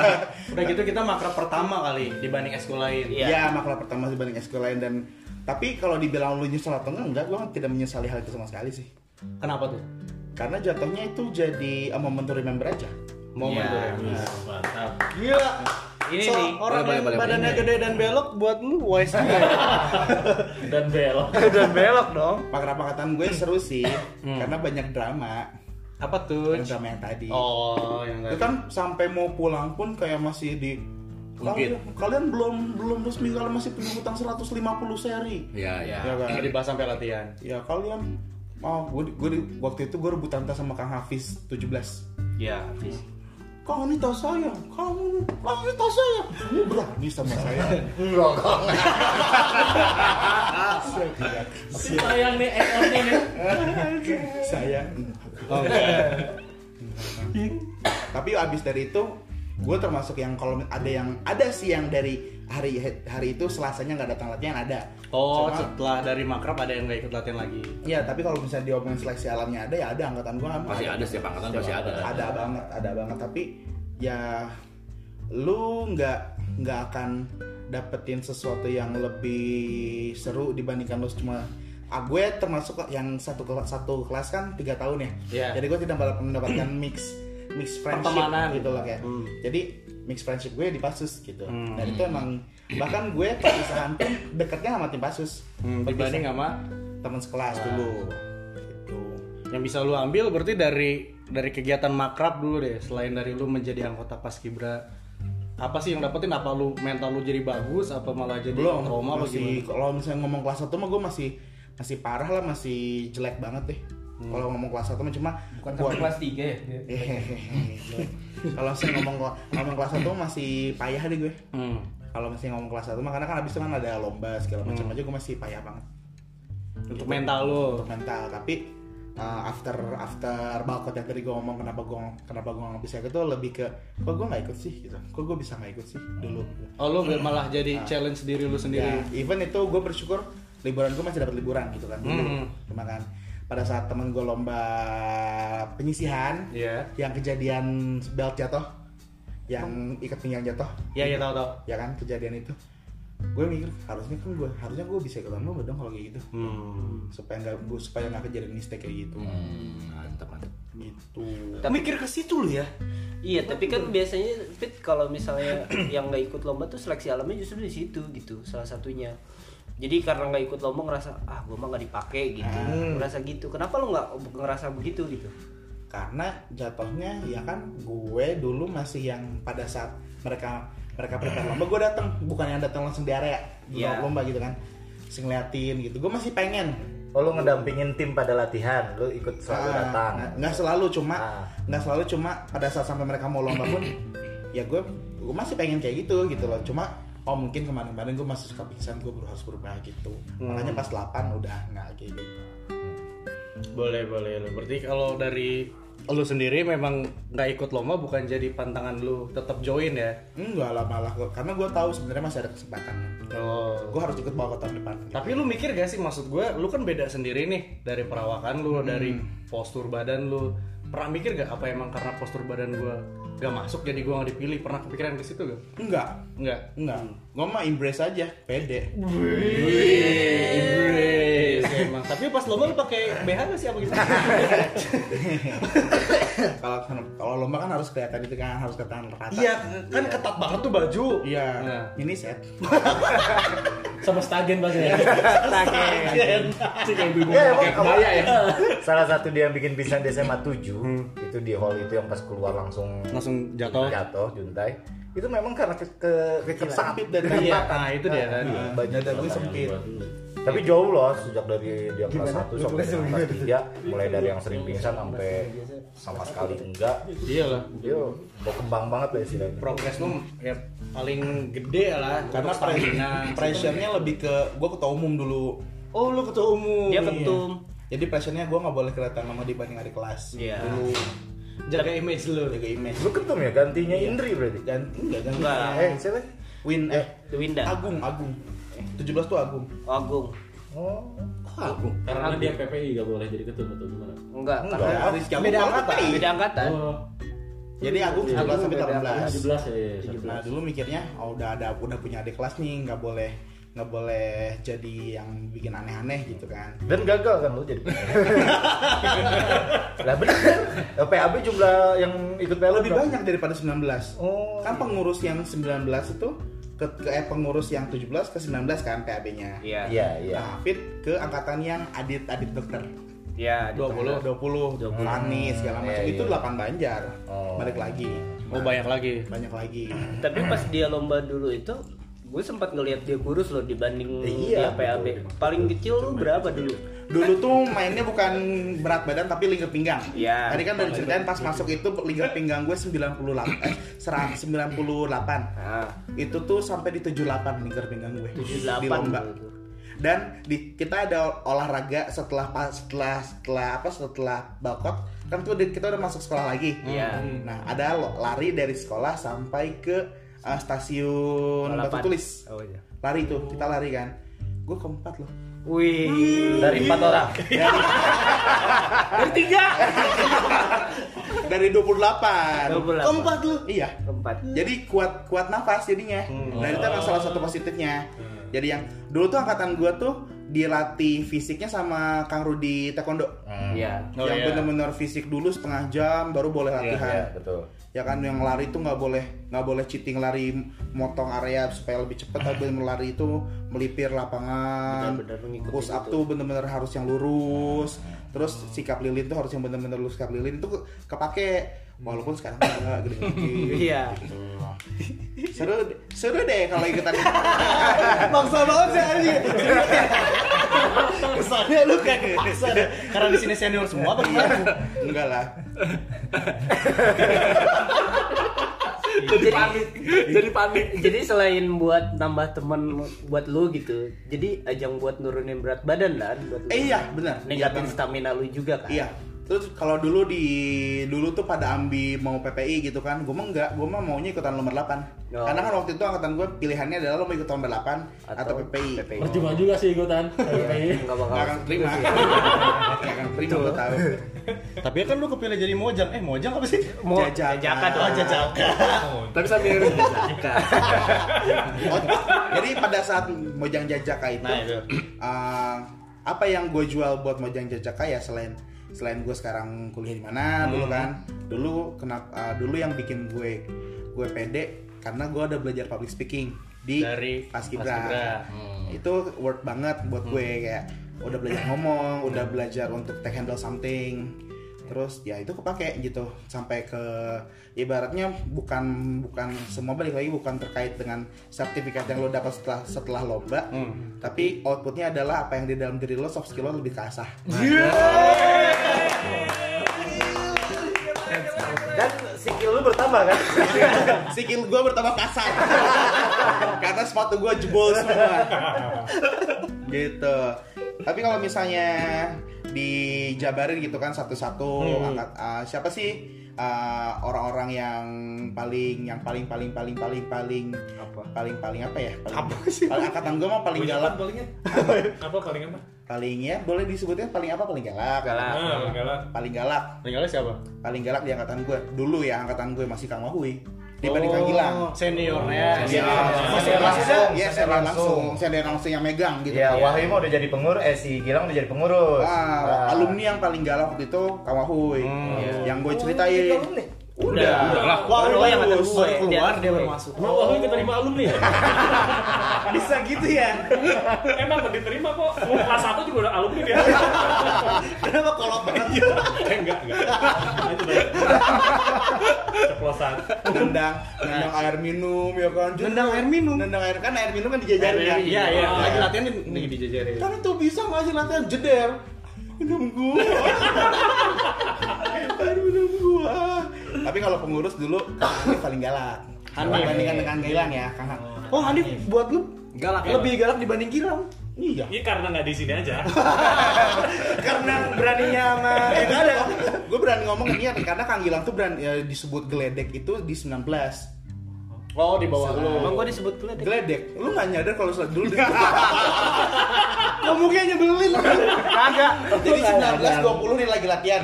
Udah gitu kita makrab pertama kali dibanding ekskul lain. Iya. Iya, makna pertama dibanding ekskul lain dan tapi kalau dibilang lu nyesal atau enggak, enggak gue tidak menyesali hal itu sama sekali sih. Kenapa tuh? Karena jatuhnya itu jadi a moment to remember aja. Momen Iya. tuh. Mantap. Gila. Ini so, orang nih. Boleh, yang boleh, boleh. badannya gede dan belok buat lu wise juga. Dan belok. Dan belok dong. Makna angkatan gue seru sih, karena banyak drama. Hmm. Apa tuh? Yang drama yang tadi. Oh, yang Itu kan sampai mau pulang pun kayak masih di Mungkin. Kalian, kalian belum belum resmi kalian masih punya hutang 150 seri. Iya, iya. Ya kan? Nggak dibahas sampai latihan. Ya kalian Oh, gue, gue di- waktu itu gue rebutan tas sama Kang Hafiz 17 Ya, habis. Kang ini tas saya, kamu, kang ini tas saya. Kamu berani sama saya. Enggak, Si sayang nih ekspornya nih. Saya. Oh, Tapi abis dari itu, gue termasuk yang kalau ada yang ada sih yang dari hari hari itu selasanya nggak datang latihan ada. Oh, Cuma- setelah dari makrab ada yang nggak ikut latihan lagi. Iya, tapi kalau misalnya diomongin seleksi alamnya ada ya ada angkatan gue Pasti ada setiap angkatan pasti ada. ada banget ada banget tapi ya lu nggak nggak akan dapetin sesuatu yang lebih seru dibandingkan lu cuma ah, gue termasuk yang satu kelas satu kelas kan tiga tahun ya Iya. jadi gue tidak mendapat- mendapatkan mix mix friendship Pertemanan. gitu loh kayak Hmm. jadi mix friendship gue di Pasus gitu dan itu emang bahkan gue perpisahan pun dekatnya sama tim Pasus Hmm, dibanding sama teman sekelas Ah. dulu gitu yang bisa lu ambil berarti dari dari kegiatan makrab dulu deh selain dari lu menjadi anggota paskibra apa sih yang dapetin apa lu mental lu jadi bagus apa malah jadi belum trauma apa masih gimana kalau misalnya ngomong kelas 1 mah gue masih masih parah lah masih jelek banget deh Hmm. kalau ngomong kelas 1 mah cuma Bukan gua- sampai kelas 3 ya. Hehehe. kalau saya ngomong ngomong kelas 1 masih payah deh gue Hmm. kalau masih ngomong kelas 1 mah karena kan abis itu kan ada lomba segala macam aja gue masih payah banget Hmm. Gitu. untuk mental lu untuk mental tapi uh, after after balkon yang tadi gue ngomong kenapa gue kenapa gue nggak bisa ikut tuh lebih ke kok gue nggak ikut sih gitu kok gue bisa nggak ikut sih dulu gitu. oh lu malah Nah. jadi challenge diri lu ya, sendiri Iya. even itu gue bersyukur liburan gue masih dapat liburan gitu kan Hmm. cuma kan pada saat temen gue lomba penyisihan Iya. yang kejadian belt jatuh yang ikat pinggang jatuh ya ya tau tau ya kan kejadian itu gue mikir harusnya kan gue harusnya gue bisa ikutan lomba dong kalau kayak gitu Hmm. supaya nggak gua- supaya nggak kejadian mistake kayak gitu mantap mantap gitu Mikir ke situ lu ya. Iya, tapi kan biasanya fit kalau misalnya yang nggak ikut lomba tuh seleksi alamnya justru di situ gitu, salah satunya. Jadi karena nggak ikut lomba ngerasa ah gue mah nggak dipakai gitu, ngerasa gitu. Kenapa lu nggak ngerasa begitu gitu? karena jatuhnya ya kan gue dulu masih yang pada saat mereka mereka prepare lomba gue datang bukan yang datang langsung di area Iya. lomba gitu kan sing ngeliatin gitu gue masih pengen Oh lu ngedampingin tim pada latihan, lu ikut selalu Ah, datang. nah, nggak selalu cuma Ah. nggak selalu cuma pada saat sampai mereka mau lomba pun ya gue gue masih pengen kayak gitu gitu loh cuma oh mungkin kemarin-kemarin gue masih suka pingsan gue baru harus berubah gitu Hmm. makanya pas 8 udah nggak kayak gitu boleh boleh lu berarti kalau dari lu sendiri memang nggak ikut lomba bukan jadi pantangan lu tetap join ya enggak lah malah gua- karena gue tahu sebenarnya masih ada kesempatan oh gue harus ikut bawa ke tahun depan Nah. gitu. Tapi lu mikir gak sih maksud gue, lu kan beda sendiri nih dari perawakan lu, dari postur badan lu. Pernah mikir gak apa emang karena postur badan gue gak masuk jadi gue gak dipilih? Pernah kepikiran ke situ gak? enggak Enggak. enggak Hmm. gue mah embrace aja pede emang. Tapi pas lomba lu pakai BH gak sih apa gitu? kalau kalau lomba kan harus kelihatan itu kan harus kelihatan rata Iya, kan ketat banget tuh baju. iya Nah. ini set Iya, Sama stagen bahasanya. Ya, emang kamu- Salah satu dia yang bikin pisang di SMA 7 itu di hall itu yang pas keluar langsung Langsung Hmm. jatuh. jatuh juntai. Itu memang karena ke, ke, sempit dan Iya, nah itu dia kan. dada gue sempit Iya. Hmm. Tapi jauh loh sejak dari dia kelas 1 sampai dia kelas 3 mulai dari yang sering pingsan sampai sama sekali enggak. Iya lah. Dia udah kembang banget ya lah istilahnya. Progres lu ya paling gede lah karena Untuk stamina. gitu. pre- pressure-nya lebih ke gue ketua umum dulu Oh lu ketua umum. Dia ketum. jadi pressure-nya gue nggak boleh kelihatan lama dibanding adik kelas Iya. dulu Jaga image lu. jaga image Lu ketum ya gantinya Indri berarti. dan enggak dan Enggak. Iya. Eh, siapa? win eh Winda, Agung Agung Eh. 17 tuh Agung Oh, Agung, Oh, Karena dia PPI gak boleh jadi ketum atau gimana? enggak. Enggak. Karena Rizky Agung Beda malah angkatan. menteri. Beda angkatan. Oh, jadi Agung 17 17 sampai 18 ya, iya, iya, Nah 17. dulu mikirnya oh, udah ada udah punya adik kelas nih nggak boleh nggak boleh jadi yang bikin aneh-aneh gitu kan. Dan gagal kan lu jadi. Lah bener. kan? PAB jumlah yang ikut PLN Lebih berapa? banyak daripada 19. Oh. Kan pengurus yang 19 itu ke, ke eh, pengurus yang 17 ke 19 kan PAB-nya. Iya. Iya, iya. Nah, fit ke angkatan yang adit-adit dokter. Iya. 20, 20, 20. Lani segala macam Iya, itu iya. 8 Banjar. Oh. Balik lagi, Oh banyak lagi. banyak lagi. Tapi pas dia lomba dulu itu, gue sempat ngelihat dia kurus loh dibanding dia Iya, PAB. Paling kecil lu berapa dulu? Dulu tuh mainnya bukan berat badan tapi lingkar pinggang. Iya. Tadi kan dari ceritain pas masuk itu lingkar pinggang gue 98 eh 100 98. Ah, Itu tuh sampai di 78 lingkar pinggang gue. 78 di lomba. dulu. Dan di, kita ada olahraga setelah pa- setelah setelah apa setelah balkot kan tuh di- kita udah masuk sekolah lagi. Iya. Nah, ada lo- lari dari sekolah sampai ke eh, stasiun Batu Balapan. Tulis. Oh, iya. Lari tuh, kita lari kan. Gue keempat loh. Wih. Dari empat orang. Dari 28. 28. Keempat lu. Iya. Keempat. Jadi kuat kuat nafas jadinya. Nah, itu emang salah satu positifnya. Jadi yang dulu tuh angkatan gua tuh dilatih fisiknya sama Kang Rudi Taekwondo. Iya. Oh, yang iya. bener-bener fisik dulu setengah jam baru boleh Iya, latihan. betul. Ya kan yang lari itu nggak boleh nggak boleh cheating lari motong area supaya lebih cepat tapi bener lari itu melipir lapangan. Benar-benar ngikutin Push up itu. tuh bener-bener harus yang lurus. Terus sikap lilin tuh harus yang bener-bener lurus sikap lilin itu ke- kepake walaupun sekarang nggak gede-gede. Iya. Seru seru deh kalau ikutan Iya. itu. Maksa banget sih anjing. Kesannya lu kayak Maksa deh. Karena di sini senior semua apa gimana? Enggak lah. jadi panik jadi panik jadi selain buat nambah teman buat lu gitu jadi ajang buat nurunin berat badan kan buat lu. Eh, iya, benar. Iya, ningkatin benar. stamina lu juga kan Iya. Terus kalau dulu di dulu tuh pada ambi mau PPI gitu kan, gue mah enggak, gue mah maunya ikutan nomor 8. Oh. Karena kan waktu itu angkatan gue pilihannya adalah lo mau ikut nomor 8 atau, PPI. Oh, Percuma juga sih ikutan. nggak bakal Nggak akan terima. Iya. Nggak akan terima gue tahu. Tapi kan lu kepilih jadi mojang. Eh mojang apa sih? mau Jajakan. jajakan dong. Oh jajaka. Tapi sambil Oh, jadi pada saat Mojang Jajaka itu, Nah, itu. eh, apa yang gue jual buat Mojang Jajaka ya selain selain gue sekarang kuliah di mana dulu kan, dulu kenapa eh, dulu yang bikin gue gue pede karena gue udah belajar public speaking di Dari Paskibra. Paskibra. Itu worth banget buat gue kayak udah belajar ngomong, udah belajar untuk take handle something. Terus ya itu kepake gitu sampai ke ya ibaratnya bukan bukan semua balik lagi bukan terkait dengan sertifikat yang lo dapat setelah setelah lomba, tapi outputnya adalah apa yang di dalam diri lo soft skill lo lebih kasah. dan skill lu bertambah kan Sikil gue bertambah kasar karena sepatu gue jebol semua gitu tapi kalau misalnya dijabarin gitu kan satu-satu angkat ah, siapa sih ah, orang-orang yang paling yang paling paling paling paling paling apa paling paling apa ya paling, paling angkatan gue mah paling galak palingnya? Apa paling apa? paling ya boleh disebutnya paling apa paling galak Ah, paling galak. paling galak Tinggalnya siapa? paling galak di angkatan gue dulu ya angkatan gue masih Kang Wahui dibanding Kang Gilang Seniornya. Iya, Masih langsung, Iya, saya masih langsung, langsung. saya lihat langsung yang megang gitu. Iya, Wahyu mah udah jadi pengurus, eh si Gilang udah jadi pengurus. Wah, Nah. alumni yang paling galak waktu itu Kang Wahuy. Yang gue ceritain. Udah. Udah lah. Wah, Baru lu yang kata baru gue. baru Keluar atas dia gue. baru masuk. Emang wah lu keterima alumni ya? Bisa gitu ya. Emang nggak diterima kok. Mau kelas 1 juga udah alumni dia. Kenapa kalau Eh, enggak, enggak. Nah, Itu baik. Ceplosan. nendang, nendang air minum ya kan. Nendang air minum. Nendang air kan air minum kan dijajarin kan. Iya iya. Lagi latihan di, di, di jajarin. Kan itu bisa nggak sih latihan jeder. Minum gua. air minum gua. Tapi kalau pengurus dulu Kang Wahuy paling galak. Dibandingkan dengan Kang Gilang ya, Kang. Oh Hanif buat lu galak ya? lebih galak dibanding Gilang. Iya. Ini karena nggak di sini aja. karena beraninya sama eh gak ada gue berani ngomong ini ya, karena Kang Gilang tuh berani ya, disebut geledek itu di 19 Oh di bawah lu. emang gua disebut geledek geledek lu gak nyadar kalau sudah dulu Kamu nyebelin. Kagak. jadi 19 20 nih lagi latihan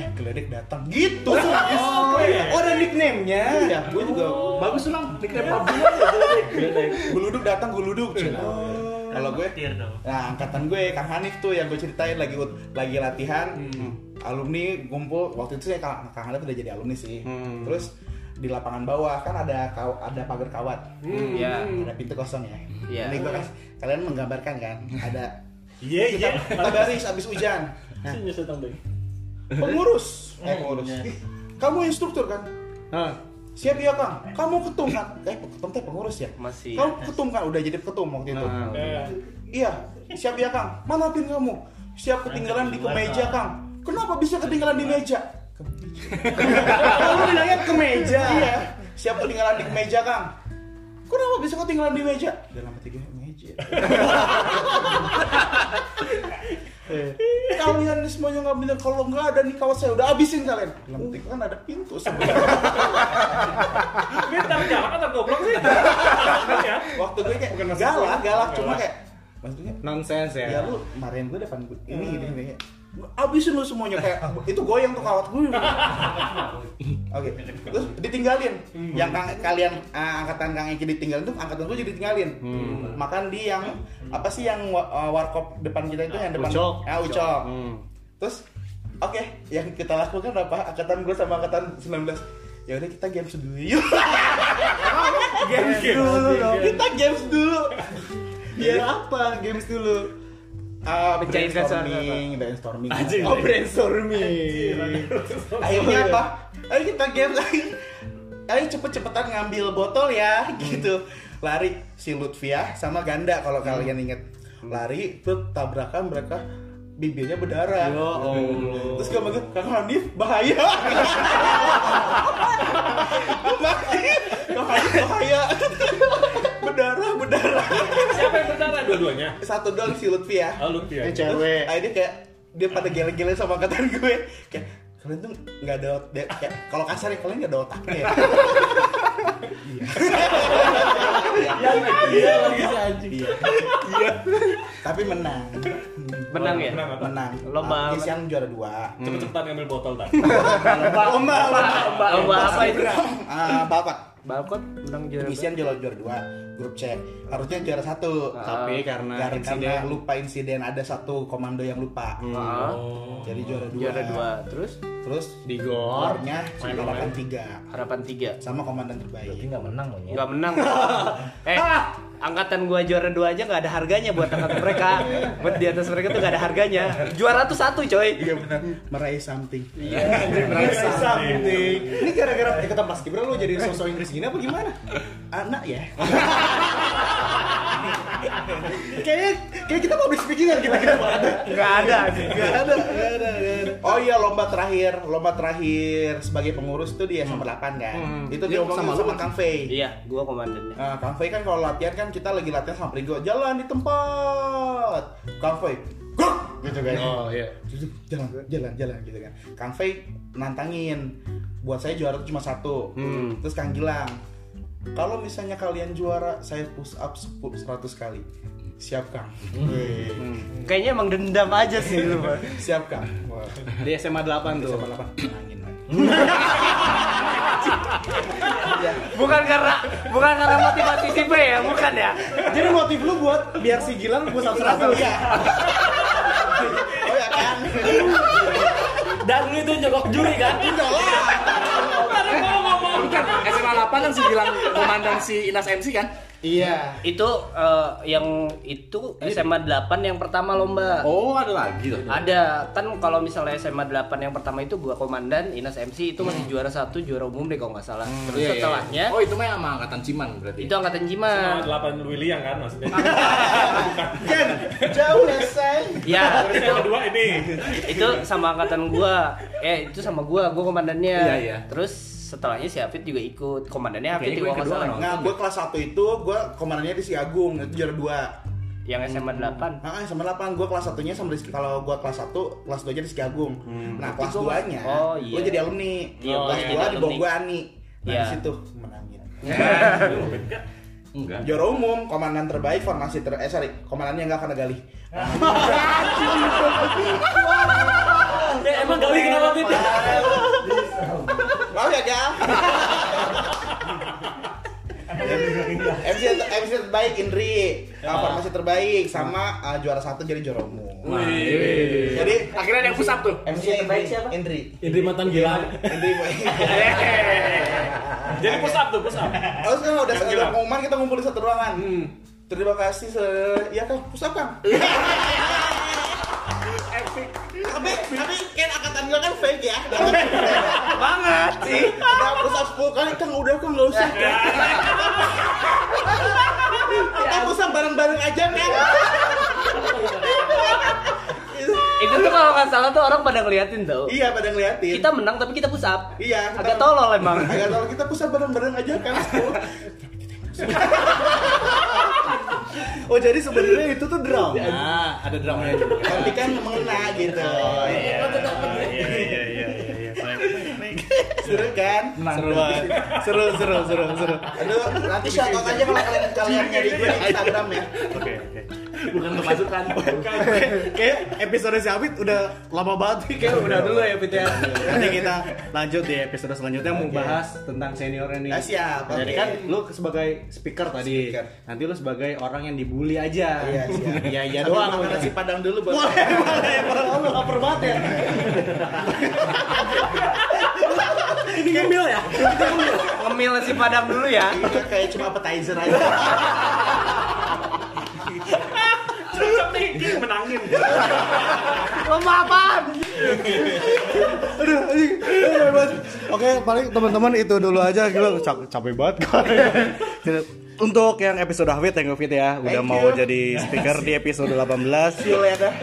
eh geledek datang gitu Oh, iya. oh ada nickname-nya. ya gue juga bagus ulang nickname Pablo guluduk datang guluduk Oh. kalau gue nah angkatan gue Kang Hanif tuh yang gue ceritain lagi lagi latihan alumni kumpul waktu itu saya Kang, Kang Hanif udah jadi alumni sih terus di lapangan bawah kan ada kaw- ada pagar kawat Iya. ada pintu kosong ya Iya. ini gue kan kalian menggambarkan kan ada Iya, iya. kita, kita baris abis hujan nah, Sini setang deh. pengurus eh pengurus kamu instruktur kan siap ya kang kamu ketum kan eh ketum teh pengurus ya Masih. kamu ketum kan udah jadi ketum waktu itu Eh, iya siap ya kang mana pin kamu siap ketinggalan di kemeja kang kenapa bisa ketinggalan di meja kamu bilangnya kemeja iya siap ketinggalan di kemeja kang kenapa bisa ketinggalan di meja dalam tiga meja kalian nih semuanya nggak bener kalau nggak ada nih kawas saya udah habisin kalian dalam tiga kan ada pintu sebenarnya ini tanggung jawab atau goblok sih? Ya. waktu gue kayak galak galak cuma kayak maksudnya Nonsense ya Iya. ya. Hmm. lu marahin gue depan gue ini gitu, gini gini abisin lu semuanya kayak itu goyang tuh kawat gue oke terus ditinggalin yang kang- kalian eh, angkatan kang Eki ditinggalin tuh angkatan gue jadi ditinggalin makan di yang apa sih yang wa- eh, warkop depan kita itu yang depan Ucok. ah, ucok. Hmm. terus oke yang kita lakukan apa angkatan gue sama angkatan 19 ya udah kita games dulu yuk games dulu dong kita games dulu biar apa games dulu Iya. Ah, Pecahin kasur, brainstorming, brainstorming. oh, brainstorming. Iya. Akhirnya apa? Ayo kita games Ayo cepet-cepetan ngambil botol ya, gitu. Lari si Lutfiah sama Ganda kalau kalian inget. Lari tuh tabrakan mereka bibirnya berdarah. Terus gue bilang, Kang Hanif bahaya. Kang Hanif, Kang Hanif bahaya. berdarah, berdarah. Siapa yang berdarah dua-duanya? Satu doang si Lutfiah. Oh, Lutfi ya. Terus akhirnya kayak dia pada gele-gele sama angkatan gue kayak kalian tuh nggak ada ot- dia- kayak kalau kasar ya kalian nggak ada otaknya ya Iya lagi si anjing. tapi menang Menang ya? Menang apa? menang Lo mah- Abis yang juara dua Cepet-cepetan ngambil botol tadi. lomba lomba Lomba apa itu? Ah, balkon Balkon menang juara. Abis yang juara juara dua grup C harusnya juara Ah. satu Tapi karena karena, insiden. lupa insiden ada satu komando yang lupa Oh. Heeh. jadi juara dua Ah, Juara dua. Terus terus Hmm. di gor skornya dikalahkan tiga harapan tiga. sama komandan Berarti terbaik nggak menang Iya. monyet. Nggak menang. eh, angkatan gua juara dua aja nggak ada harganya buat angkatan mereka. Buat di atas mereka tuh nggak ada harganya. Juara tuh satu coy. iya benar meraih something Iya, Something. Ini gara-gara ikutan Mas Gibran lu jadi sosok Inggris gini apa gimana? anak ya Kayaknya kayak kita public speaking ya. kan kita kita banget. Nggak ada. Gak Iya. ada, gak ada, gak ada. Oh iya lomba terakhir, lomba terakhir sebagai pengurus tuh di SMA 8 kan. Itu Iya, dia ngomong sama sama, kan? lu Kang Fei. Iya, gua komandannya. Nah, Kang Fei kan kalau latihan kan kita lagi latihan sampai gue jalan di tempat. Kang Fei, "Guk!" gitu kan. oh iya Jalan, jalan, jalan gitu kan. Kang Fei nantangin. Buat saya juara tuh cuma satu. Hmm. Terus Kang Gilang, kalau misalnya kalian juara, saya push up 10 100 kali. Siap Kang. Wih. Hmm. Kayaknya emang dendam aja sih lu. Bang. Siap Kang. Wah. di SMA 8 tuh SMA 8 menangin lah. Hmm. Bukan karena bukan karena motivasi si B ya, bukan ya. Jadi motif lu buat iya biar si Gilang gua satu satu. Iya. oh ya kan. Dan lu itu nyogok juri kan? Enggak lah. Bukan, SMA 8 kan si bilang komandan si Inas MC kan? Iya. Itu eh, yang itu SMA 8 yang pertama lomba. oh ada lagi tuh Ada kan kalau misalnya SMA 8 yang pertama itu gua komandan, Inas MC itu masih juara satu juara umum deh kalau nggak salah. Terus Iya, iya. setelahnya Oh, iya. itu mah sama angkatan Ciman berarti. itu angkatan Sama Jiman. delapan William kan maksudnya. Ken, jauh ya say. Ya, Terus itu, yang kedua ini. itu sama angkatan gua. Eh, itu sama gua, gua komandannya. Iya, iya. Terus setelahnya si Hafid juga ikut. Komandannya Hafid Kayaknya juga gua yang nggak kedua salah. Nah, gue kelas 1 itu gue komandannya di Si Agung, itu juara 2. Yang SMA 8. Nah, sama 8 gue kelas satunya sama Rizky. Kalau gue kelas 1, kelas 2 nya di Si Agung. Nah, kelas 2-nya Oh, gue iya. jadi alumni. Iya, kelas iya, jadi 2 di bawah alumni. gue Ani. Nah, Iya. di situ menangin. Enggak. Juara umum, komandan terbaik, formasi ter... Eh, sorry, komandannya nggak akan gali. Emang gali kenapa Fit? Maaf ya, Gal. MC, ter- MC terbaik Indri, Iya. Nah, formasi terbaik sama uh, juara satu jadi juara umum. Jadi Akhirnya ada yang pusat tuh. MC yang terbaik siapa? Indri. Indri mantan gila. Indri. Jadi push up tuh, push up. Terus kan udah udah pengumuman kita ngumpul di satu ruangan. Terima kasih. se- Ya kan, pusat kan. Eh, Tapi tapi kan angkatan gue kan fake ya. Banget sih. Udah pusat 10 kali kan udah kan nggak usah. Kang. Kita pusat bareng-bareng aja kan. Itu tuh kalau nggak salah tuh orang pada ngeliatin tau. Iya pada ngeliatin. Kita menang tapi kita push up. Iya. kita- Agak tolol emang. Agak tolol kita pusat bareng-bareng aja kan. Oh jadi sebenarnya itu tuh drama. Nah, ada dramanya juga. Tapi kan mengena gitu. Iya, iya, iya, iya, iya. seru kan seru banget. seru seru seru seru Aduh, nanti Iya, shout out aja kalau kalian kalian nyari gue di Instagram ya. oke oke bukan kemasukan kayak episode si Abid udah lama banget nih kayak udah dulu ya Abid ya nanti kita lanjut di episode selanjutnya mau bahas tentang seniornya nih Ah, siap, jadi oke. kan lu sebagai speaker tadi Speaker. nanti lu sebagai orang yang dibully aja Iya, siap. iya iya Sambil doang makan nasi padang dulu buat. boleh boleh boleh lu lapar banget ya ini ngemil ya Ngemil si Padang dulu ya. Iya, kayak cuma appetizer aja. Cocok nih, Ki, menangin. Lomba apaan? aduh anjing. Aduh, hebat. oke paling teman-teman itu dulu aja gila Cap- capek banget kan untuk yang episode Hafid thank you Fit ya udah Thank mau you. jadi speaker di episode 18 Dulu ya dah.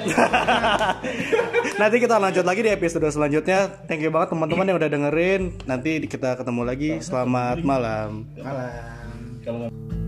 Nanti kita lanjut lagi di episode selanjutnya. Thank you banget teman-teman yang udah dengerin. Nanti kita ketemu lagi. Selamat malam. Malam.